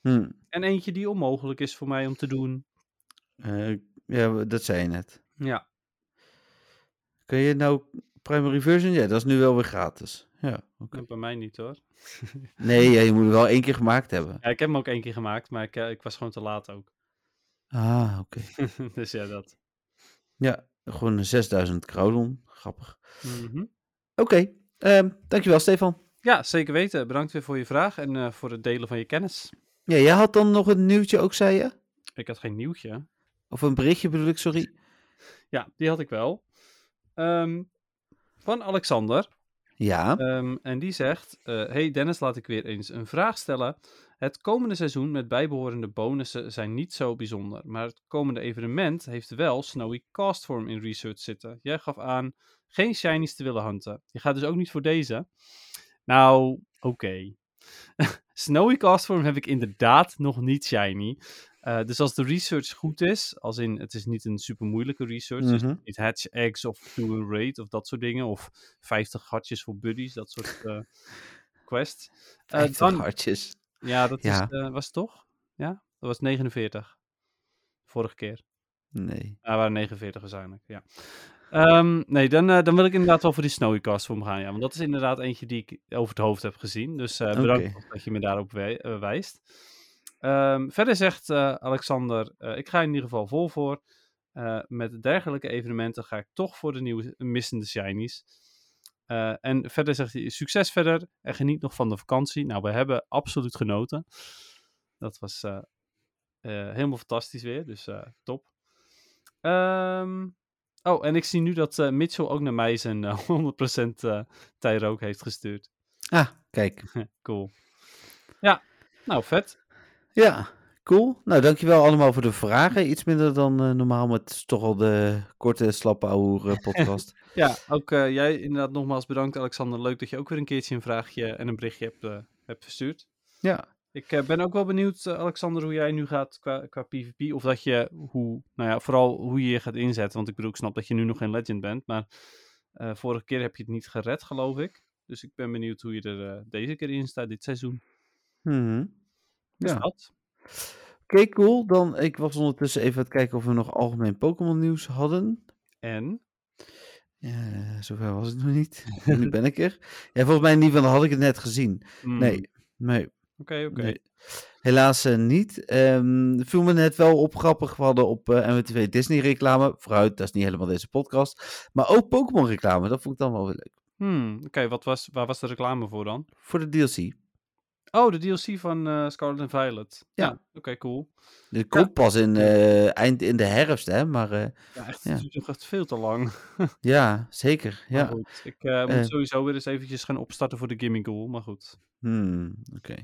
C: Hm.
D: En eentje die onmogelijk is voor mij om te doen.
C: Eh, ja, we- dat zei je net.
D: Ja.
C: Kun je nou primary version? Ja, dat is nu wel weer gratis. Ja, oké.
D: Bij mij niet hoor.
C: Nee, ja, je moet het wel één keer gemaakt hebben.
D: Ja, ik heb hem ook één keer gemaakt, maar ik, eh, ik was gewoon te laat ook.
C: Ah, oké.
D: dus ja, dat.
C: Ja, gewoon een 6000 crowdon. Grappig.
D: Mhm.
C: Oké, ehm, dankjewel Stefan.
D: Ja, zeker weten. Bedankt weer voor je vraag en eh, voor het delen van je kennis.
C: Ja, jij had dan nog een nieuwtje ook, zei je?
D: Ik had geen nieuwtje.
C: Of een berichtje bedoel ik, sorry.
D: Ja, die had ik wel. Ehm, van Alexander.
C: Ja,
D: Ehm, en die zegt: eh, Hey Dennis, laat ik weer eens een vraag stellen. Het komende seizoen met bijbehorende bonussen zijn niet zo bijzonder. Maar het komende evenement heeft wel Snowy Castform in research zitten. Jij gaf aan geen shinies te willen hunten. Je gaat dus ook niet voor deze. Nou, oké. Snowy Castform heb ik inderdaad nog niet shiny. Eh, dus als de research goed is, als in het is niet een super moeilijke research, dus
C: Mhm.
D: niet hatch eggs of do a raid of dat soort dingen, of 50 hartjes voor buddies, dat soort eh, quests. Eh,
C: 50
D: dan-
C: hartjes.
D: ja, dat
C: Ja.
D: Is, eh, was het toch? Ja, dat was 49. Vorige keer.
C: Nee.
D: Ah, waren 49 waarschijnlijk, ja. Ehm, nee, dan, eh, dan wil ik inderdaad wel voor die Snowy Cast voor me gaan. Ja, want dat is inderdaad eentje die ik over het hoofd heb gezien. Dus eh, bedankt dat je me daarop wij- eh, wijst. Ehm, verder zegt eh, Alexander, eh, ik ga in ieder geval vol voor. Eh, met dergelijke evenementen ga ik toch voor de nieuwe missende shinies. Eh, en verder zegt hij, succes verder en geniet nog van de vakantie. Nou, we hebben absoluut genoten. Dat was eh, eh, helemaal fantastisch weer, dus eh, top. Ehm, oh, en ik zie nu dat eh, Mitchell ook naar mij zijn eh, 100% eh Tyrook heeft gestuurd.
C: Ah, kijk.
D: Cool. Ja, nou vet.
C: Ja, cool. Nou, dankjewel allemaal voor de vragen. Iets minder dan eh, normaal, maar het is toch al de korte, slappe ouwe eh, podcast.
D: Ja, ook eh, jij inderdaad nogmaals bedankt Alexander. Leuk dat je ook weer een keertje een vraagje en een berichtje hebt, eh, hebt verstuurd.
C: ja.
D: Ik eh, ben ook wel benieuwd, eh, Alexander, hoe jij nu gaat qua, qua PvP. Of dat je, hoe, nou ja, vooral hoe je je gaat inzetten. Want ik bedoel, ik snap dat je nu nog geen legend bent. Maar eh, vorige keer heb je het niet gered, geloof ik. Dus ik ben benieuwd hoe je er eh, deze keer in staat, dit seizoen.
C: Mhm.
D: Dus
C: Ja.
D: dat.
C: Oké, cool. Dan, ik was ondertussen even aan het kijken of we nog algemeen Pokémon nieuws hadden.
D: En?
C: Ja, zover was het nog niet. nu ben ik er. Ja, volgens mij in ieder geval had ik het net gezien.
D: Hmm, Oké,
C: Nee, nee,
D: oké.
C: nee. Helaas eh, niet. Ehm viel me net wel op grappig. We hadden op eh MWTV Disney reclame. Vooruit, dat is niet helemaal deze podcast. Maar ook Pokémon reclame. Dat vond ik dan wel weer leuk.
D: Hmm, Oké, wat was, waar was de reclame voor dan?
C: Voor de DLC.
D: Oh, de DLC van eh, Scarlet en Violet.
C: Ja.
D: Oké, cool.
C: Dit komt pas in, eh, eind in de herfst, hè? Maar eh,
D: Ja, echt,
C: Ja.
D: Het duurt nog echt veel te lang.
C: ja, zeker.
D: Maar
C: Ja.
D: goed, ik eh, moet
C: Eh.
D: sowieso weer eens eventjes gaan opstarten voor de Gimme Goal. Maar goed,
C: Hmm, Oké.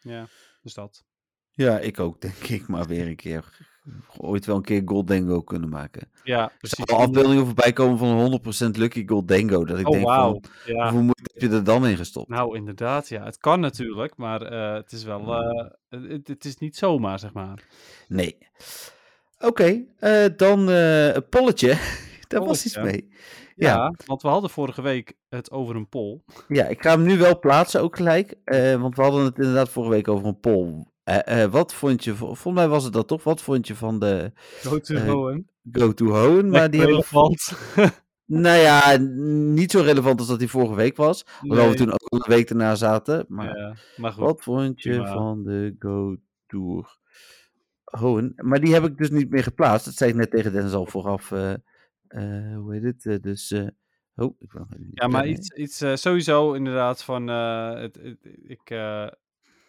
D: ja, dus dat.
C: Ja, ik ook, denk ik. Maar weer een keer. Ooit wel een keer Goldengo kunnen maken.
D: Ja,
C: Er
D: precies. eh,
C: zijn al afbeeldingen voorbij komen van 100% Lucky Goldengo. Dat ik
D: Oh,
C: denk
D: wauw.
C: van,
D: Ja.
C: hoeveel moeite heb je er dan in gestopt?
D: Nou, inderdaad, ja. Het kan natuurlijk, maar eh, het is wel... eh, het, het is niet zomaar, zeg maar.
C: Nee. Oké, eh, dan eh een polletje. Daar was iets
D: Polletje.
C: mee.
D: Ja,
C: Ja.
D: want we hadden vorige week het over een poll.
C: Ja, ik ga hem nu wel plaatsen ook gelijk. eh, want we hadden het inderdaad vorige week over een poll. Eh, eh, wat vond je, van- volgens mij was het dat toch? Wat vond je van de
D: Go to
C: Eh,
D: Rowan.
C: Go to Hoenn? Maar die hebben,
D: relevant.
C: nou ja, niet zo relevant als dat die vorige week was. Hoewel we toen ook al een week daarna zaten. Maar
D: Ja, maar goed.
C: Wat vond je
D: prima.
C: van de Go Tour? Hoen. Maar die heb ik dus niet meer geplaatst. Dat zei ik net tegen Dennis al vooraf. eh, eh, hoe heet het? Eh, dus. eh, oh, ik wil nog even niet
D: Ja, maar
C: plannen.
D: iets, iets eh, sowieso inderdaad van... eh, het, het- ik, eh,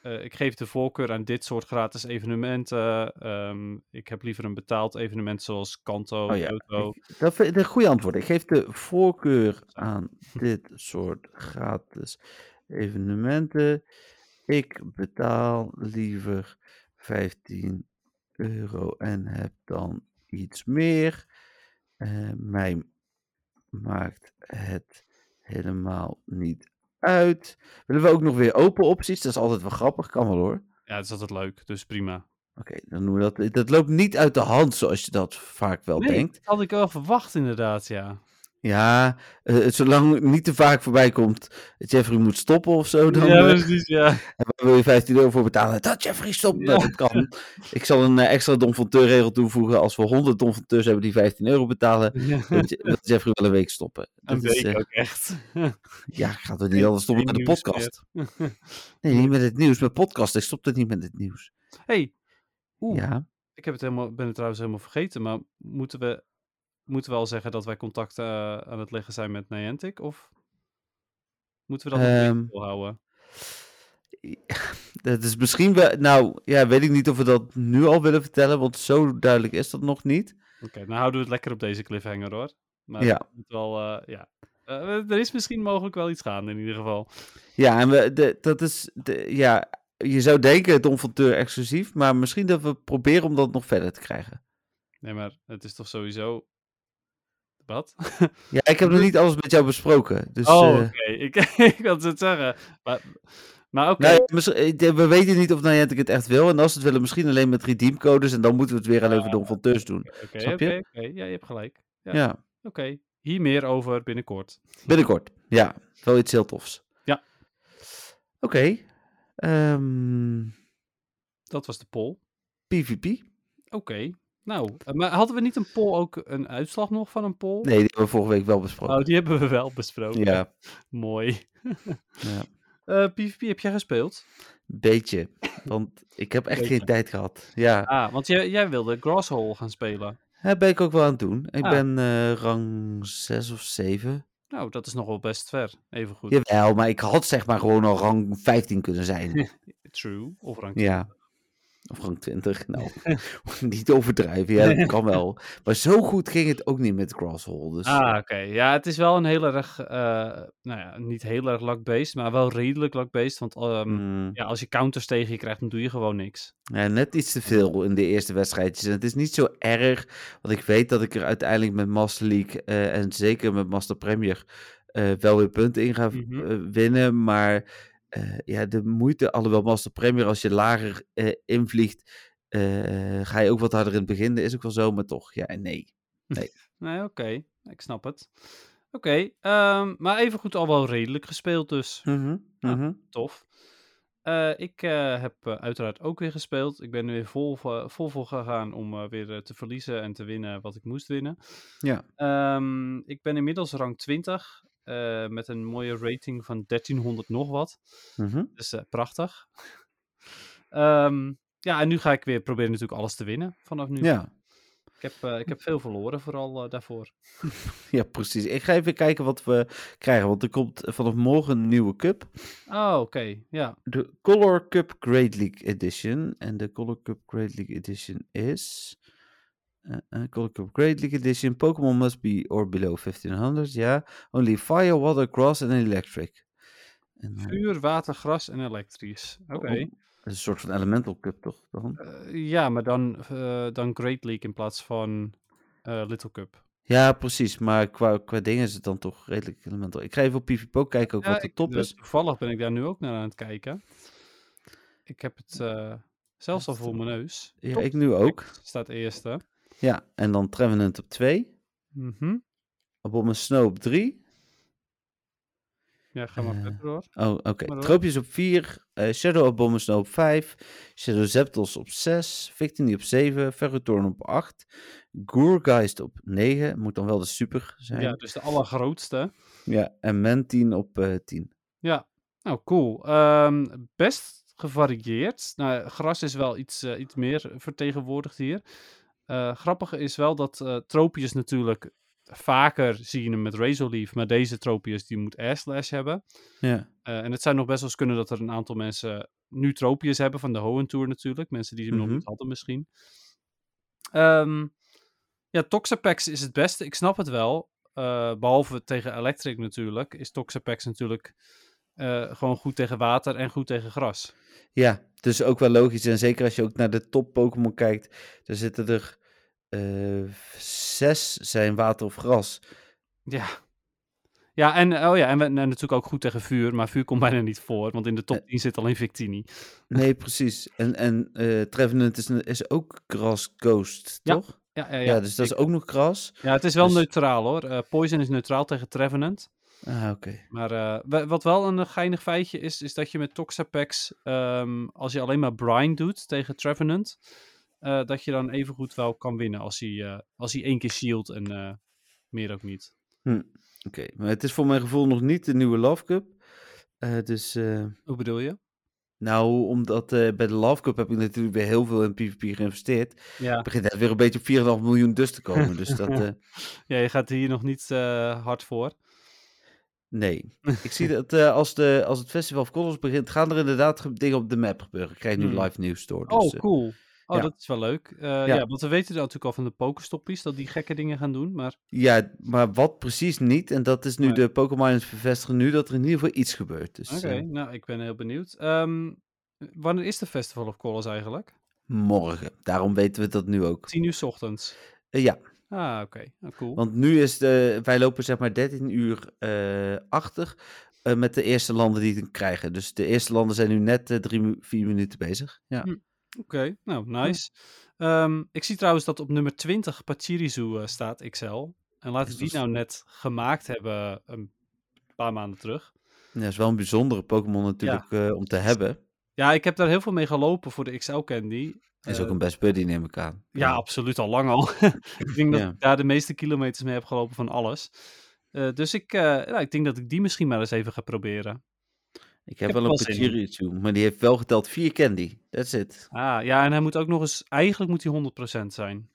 D: eh, ik geef de voorkeur aan dit soort gratis evenementen. Ehm, ik heb liever een betaald evenement zoals Kanto,
C: Oh ja,
D: Johto.
C: Dat vind ik een goede antwoord. Ik geef de voorkeur aan dit soort gratis evenementen. Ik betaal liever 15 euro en heb dan iets meer. Eh, mij maakt het helemaal niet uit. Willen we ook nog weer open opties? Dat is altijd wel grappig, kan wel hoor.
D: Ja, dat is altijd leuk, dus prima.
C: Oké, dan doen we dat. Dat loopt niet uit de hand zoals je dat vaak wel
D: Nee,
C: denkt.
D: dat had ik wel verwacht inderdaad, ja.
C: Ja, eh, het zolang het niet te vaak voorbij komt. dat Jeffrey moet stoppen of zo. Dan
D: ja,
C: eh,
D: precies, ja.
C: en waar wil je 15 euro voor betalen? Dat Jeffrey stopt.
D: Ja.
C: Nou, dat kan. Ik zal een eh, extra Don van Teur regel toevoegen. Als we 100 Don van Teurs hebben die 15 euro betalen. wil Je, wil Jeffrey wel een week stoppen.
D: Een
C: Dat is,
D: week
C: eh,
D: ook echt.
C: ja, ik ga toch
D: Geen-
C: niet anders stoppen met
D: geen
C: de
D: nieuws
C: podcast. Nee, niet met het nieuws. Met podcast. Ik stop het niet met het nieuws.
D: hey, Oeh.
C: Ja.
D: ik heb het helemaal, ben het trouwens helemaal vergeten, maar moeten we, moeten we al zeggen dat wij contact eh, aan het leggen zijn met Niantic? Of moeten we dat nog
C: Ehm,
D: um, houden?
C: Dat is misschien wel... Nou, ja, weet ik niet of we dat nu al willen vertellen. Want zo duidelijk is dat nog niet.
D: Oké, nou houden we het lekker op deze cliffhanger hoor. Maar
C: Ja.
D: het moet wel, eh, ja. Eh, er is misschien mogelijk wel iets gaande in ieder geval.
C: Ja, en we, de, dat is. De, ja, je zou denken Don van Teur exclusief, maar misschien dat we proberen om dat nog verder te krijgen.
D: Nee, maar het is toch sowieso... Wat?
C: Ja, ik heb nog niet alles met jou besproken. Dus.
D: oh,
C: eh,
D: oké. Ik, ik wilde het zeggen. Maar, maar oké.
C: nou ja, misschien- eh, de- we weten niet of Niantic het echt wil. En als ze het willen, misschien alleen met redeemcodes. En dan moeten we het weer alleen over Don van Teurs doen.
D: Oké,
C: snap
D: oké,
C: je?
D: oké. Ja, je hebt gelijk. Ja.
C: Ja,
D: Oké, hier meer over binnenkort.
C: binnenkort. Ja, wel iets heel tofs.
D: Ja.
C: Oké. ehm,
D: Dat was de poll.
C: PvP.
D: Oké, Nou, eh, maar hadden we niet een poll ook een uitslag nog van een poll?
C: Nee, die hebben we vorige week wel besproken.
D: Oh, die hebben we wel besproken.
C: ja,
D: Mooi.
C: ja,
D: Eh, PvP heb jij gespeeld?
C: beetje. Want ik heb echt geen tijd gehad. Ja,
D: Ah, want jij, jij wilde Grasshole gaan spelen.
C: dat ben ik ook wel aan het doen. Ik
D: Ah.
C: ben eh, rang 6 of 7.
D: Nou, dat is nog wel best ver. Even goed.
C: Jawel, maar ik had zeg maar gewoon al rang 15 kunnen zijn.
D: True. Of rank.
C: ja. Of rang 20. Nou, niet overdrijven. Ja, dat kan wel. Maar zo goed ging het ook niet met Crosshole. Dus
D: Ah, oké. Ja, het is wel een heel erg, eh, nou ja, niet heel erg luck-based, maar wel redelijk luck-based. Want ehm,
C: mm,
D: ja, als je counters tegen je krijgt, dan doe je gewoon niks.
C: ja, net iets te veel in de eerste wedstrijdjes. En het is niet zo erg. Want ik weet dat ik er uiteindelijk met Master League eh, en zeker met Master Premier eh, wel weer punten in ga v-
D: Mhm.
C: eh, winnen. Maar eh, ja, de moeite, alhoewel Master Premier, als je lager eh, invliegt, eh, ga je ook wat harder in het begin. Dat is ook wel zo, maar toch. Ja, en nee.
D: Nee, oké. Ik snap het. Oké, ehm, maar even goed al wel redelijk gespeeld, dus Ja. tof. Eh, ik eh, heb eh, uiteraard ook weer gespeeld. Ik ben er weer vol, eh, vol voor gegaan om eh, weer eh, te verliezen en te winnen wat ik moest winnen.
C: Ja.
D: Ehm, ik ben inmiddels rang 20 eh, met een mooie rating van 1300 nog wat.
C: Mhm.
D: Dus eh, prachtig. Ehm, ja, en nu ga ik weer proberen natuurlijk alles te winnen vanaf nu.
C: Ja.
D: Ik, heb, eh, ik heb veel verloren vooral eh, daarvoor.
C: ja, precies. Ik ga even kijken wat we krijgen. Want er komt vanaf morgen een nieuwe cup.
D: Oh, oké. Ja.
C: De Color Cup Great League Edition. En de Color Cup Great League Edition is... eh, eh, Color Cup Great League Edition. Pokémon must be or below 1500. Ja. Only fire, water, grass en electric. En, eh,
D: Vuur, water, gras en elektrisch. Oké.
C: een soort van elemental cup toch dan?
D: Eh, ja, maar dan, eh, dan Great League in plaats van eh, Little Cup.
C: Ja, precies. Maar qua, qua dingen is het dan toch redelijk elemental. Ik ga even op PvP ook kijken ook
D: Ja,
C: wat de
D: ik-
C: top
D: eh,
C: is.
D: Toevallig ben ik daar nu ook naar aan het kijken. Ik heb het eh, zelfs al voor mijn neus.
C: Ja,
D: Top
C: ik nu ook.
D: Staat eerste.
C: Ja, en dan Trevenant op 2.
D: Mhm.
C: Abomin Snow op 3.
D: Ja, ga maar
C: Eh,
D: verder hoor.
C: Oh, oké.
D: Maar dat-
C: Tropius op 4. eh Shadow Abomin Snow op 5. Shadow Zapdos op 6. Victini op 7. Ferrothorn op 8. Gourgeist op 9. Moet dan wel de super zijn.
D: Ja,
C: Ja,
D: dus de allergrootste.
C: en Mantine op eh 10.
D: Nou, cool. Ehm, best gevarieerd. Nou, gras is wel iets, eh, iets meer vertegenwoordigd hier. Eh grappige is wel dat eh Tropius natuurlijk vaker zie je hem met Razor Leaf, maar deze Tropius die moet Air Slash hebben.
C: Ja.
D: Eh, en het zou nog best wel eens kunnen dat er een aantal mensen nu Tropius hebben van de Hoenn Tour natuurlijk. Mensen die hem
C: Mhm.
D: nog niet hadden misschien. Ehm, ja, Toxapex is het beste. Ik snap het wel. Eh, behalve tegen Electric natuurlijk. Is Toxapex natuurlijk eh, gewoon goed tegen water en goed tegen gras.
C: ja, dus ook wel logisch. En zeker als je ook naar de top Pokémon kijkt. Daar zitten er eh, zes zijn water of gras.
D: Ja. Ja, en, oh ja, en, we- en natuurlijk ook goed tegen vuur. Maar vuur komt bijna niet voor. Want in de
C: Eh.
D: top 10 zit alleen Victini.
C: Nee, precies. En, en eh Trevenant is, is ook Gras Coast,
D: Ja,
C: toch?
D: Ja, ja,
C: Ja,
D: ja.
C: dus dat is
D: zeker.
C: ook nog gras.
D: ja het is wel
C: dus-
D: neutraal hoor. Eh, Poison is neutraal tegen Trevenant.
C: Ah, oké.
D: Maar eh, wa- wat wel een geinig feitje is, is dat je met Toxapex, ehm, als je alleen maar Brine doet tegen Trevenant, eh, dat je dan evengoed wel kan winnen als hij, eh, als hij één keer shield en eh, meer ook niet.
C: Oké, maar het is voor mijn gevoel nog niet de nieuwe Love Cup. Eh, dus, eh,
D: Hoe bedoel je?
C: nou, omdat eh, bij de Love Cup heb ik natuurlijk weer heel veel in PvP geïnvesteerd.
D: Ja,
C: Het begint echt weer een beetje op 4,5 miljoen dus te komen. Dus dat, eh,
D: ja je gaat hier nog niet eh, hard voor.
C: nee. Ik zie dat eh, als, de, als het Festival of Colors begint, gaan er inderdaad ge- dingen op de map gebeuren. Ik krijg nu
D: Hmm.
C: live nieuws door. Dus,
D: Oh,
C: eh,
D: cool. Oh,
C: ja.
D: dat is wel leuk. Eh, ja. want we weten dat natuurlijk al van de pokerstoppies, dat die gekke dingen gaan doen. Maar
C: ja, maar wat precies niet. En dat is nu
D: Nee.
C: de Pokémon bevestigen nu dat er in ieder geval iets gebeurt. Dus,
D: oké,
C: eh,
D: nou, ik ben heel benieuwd. Ehm, wanneer is de Festival of Colors eigenlijk?
C: morgen. Daarom weten we dat nu ook.
D: 10 uur 's ochtends.
C: Eh, ja,
D: Ah, oké. Nou, cool.
C: Want nu is de, wij lopen zeg maar 13 uur eh, achter eh, met de eerste landen die het krijgen. Dus de eerste landen zijn nu net eh, drie, mu- vier minuten bezig. Ja.
D: Hm. Oké, nou, nice. Ehm, ik zie trouwens dat op nummer 20 Pachirisu eh, staat, XL. En laten we
C: Is
D: die
C: dat
D: nou net gemaakt hebben een paar maanden terug.
C: Ja, dat is wel een bijzondere Pokémon natuurlijk eh, om te hebben.
D: Ja, ik heb daar heel veel mee gelopen voor de XL Candy.
C: Is
D: Eh,
C: ook een best buddy, neem ik aan.
D: Ja, absoluut al lang al. ik denk dat
C: Ja.
D: ik daar de meeste kilometers mee heb gelopen van alles. Eh, dus ik, eh, nou, ik denk dat ik die misschien maar eens even ga proberen.
C: Ik heb
D: heb
C: wel
D: er
C: een
D: wel zin in.
C: Pachirichu, maar die heeft wel geteld vier candy. That's it.
D: Ah, ja, en hij moet ook nog eens... Eigenlijk moet hij 100% zijn.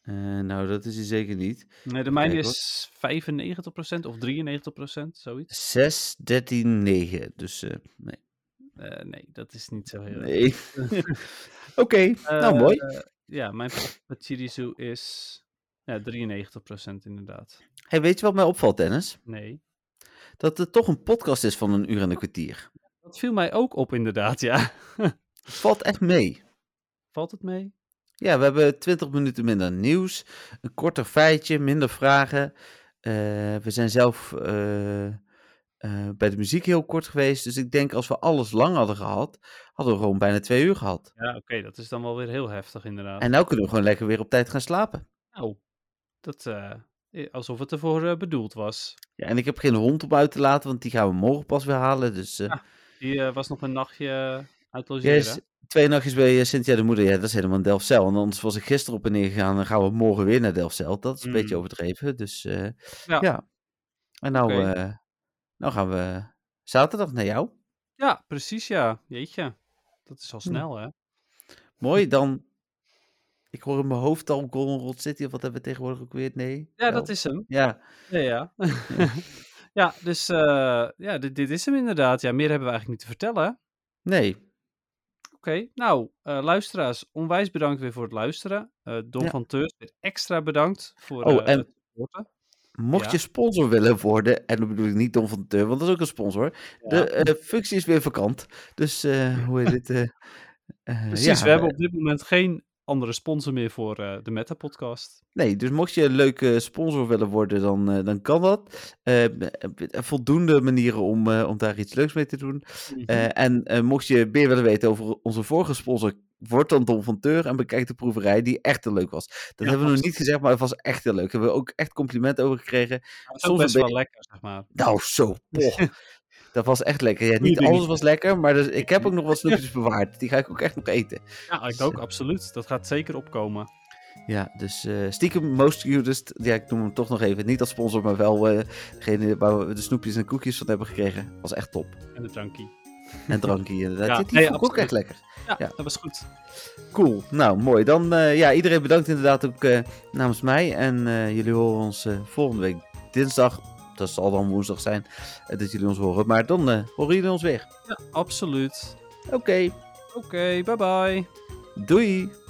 C: Eh, nou, dat is hij zeker niet.
D: Nee, de mijne
C: Kijk,
D: is 95% of 93%, zoiets.
C: 6, 13, 9. Dus eh, nee.
D: Eh, nee, dat is niet zo heel...
C: nee. Oké, nou
D: Eh,
C: mooi.
D: Ja, mijn Pachirisu is ja, 93% inderdaad.
C: Hey, weet je wat mij opvalt, Dennis?
D: Nee.
C: Dat het toch een podcast is van een uur en een kwartier.
D: Dat viel mij ook op inderdaad, ja.
C: Het valt echt mee.
D: Valt het mee?
C: Ja, we hebben 20 minuten minder nieuws, een korter feitje, minder vragen. Eh, we zijn zelf eh, eh, bij de muziek heel kort geweest. Dus ik denk als we alles lang hadden gehad, hadden we gewoon bijna twee uur gehad.
D: Ja, oké, dat is dan wel weer heel heftig inderdaad.
C: En nou kunnen we gewoon lekker weer op tijd gaan slapen.
D: Nou, dat, eh, eh, alsof het ervoor eh, bedoeld was.
C: Ja, en ik heb geen hond om uit te laten, want die gaan we morgen pas weer halen. Dus eh
D: Ja, Die eh, was nog een nachtje
C: jij
D: uitlogeren.
C: is twee nachtjes bij eh, Cynthia de moeder. Ja, dat is helemaal een Delfzijl. En anders was ik gisteren op en neer gegaan. Dan gaan we morgen weer naar Delfzijl. Dat is een
D: Mm.
C: beetje overdreven. Dus eh, ja.
D: Ja.
C: En nou,
D: Oké.
C: eh, nou gaan we zaterdag naar jou.
D: Ja, precies ja. Jeetje, dat is al snel hè.
C: Mooi, dan. Ik hoor in mijn hoofd al Goldenrod City. Of wat hebben we tegenwoordig ook weer? Nee.
D: Ja, dat is hem.
C: Ja,
D: Ja, ja. ja dus eh, ja, dit, dit is hem inderdaad. Ja, meer hebben we eigenlijk niet te vertellen. hè?
C: nee.
D: Oké, nou, eh, luisteraars, onwijs bedankt weer voor het luisteren. Eh, Don
C: Ja.
D: van Teurs, weer extra bedankt voor
C: Oh,
D: eh,
C: en-
D: het supporten.
C: Mocht
D: Ja.
C: je sponsor willen worden, en dat bedoel ik niet Don van de Teur, want dat is ook een sponsor. De eh, functie is weer vakant. Dus eh, hoe heet dit? eh, eh,
D: Precies,
C: ja,
D: we hebben op dit moment geen andere sponsor meer voor eh, de Meta-podcast.
C: Nee, dus mocht je een leuke sponsor willen worden, dan, eh, dan kan dat. Eh, eh, voldoende manieren om, eh, om daar iets leuks mee te doen. Eh, en eh, mocht je meer willen weten over onze vorige sponsor, word dan Don van Teur en bekijk de proeverij die echt heel leuk was. Dat hebben we nog niet gezegd, maar het was echt heel leuk. Daar hebben we ook echt complimenten over gekregen.
D: Dat is
C: soms
D: ook
C: een
D: best wel
C: beetje-
D: lekker, zeg maar.
C: Nou, zo. poch. dat was echt lekker. Ja, niet
D: dingen.
C: alles was lekker, maar dus, ik heb ook nog wat snoepjes bewaard. Die ga ik ook echt nog eten.
D: Ja, ik
C: Dus,
D: ook, absoluut. Dat gaat zeker opkomen.
C: Ja, dus eh, stiekem most cutest. Ja, ik noem hem toch nog even. Niet als sponsor, maar wel eh, degene waar we de snoepjes en koekjes van hebben gekregen. Was echt top.
D: En de drankie.
C: En drankje eh, inderdaad.
D: Ja,
C: Ja, die
D: nee,
C: vond ik ook
D: absoluut.
C: echt lekker.
D: Ja,
C: Ja.
D: dat was goed.
C: Cool. Nou, mooi. Dan, eh, ja, iedereen bedankt inderdaad ook eh, namens mij. En eh, jullie horen ons eh, volgende week dinsdag. Dat zal dan woensdag zijn eh, dat jullie ons horen. Maar dan eh, horen jullie ons weer.
D: Absoluut.
C: Oké,
D: Oké, bye bye.
C: doei!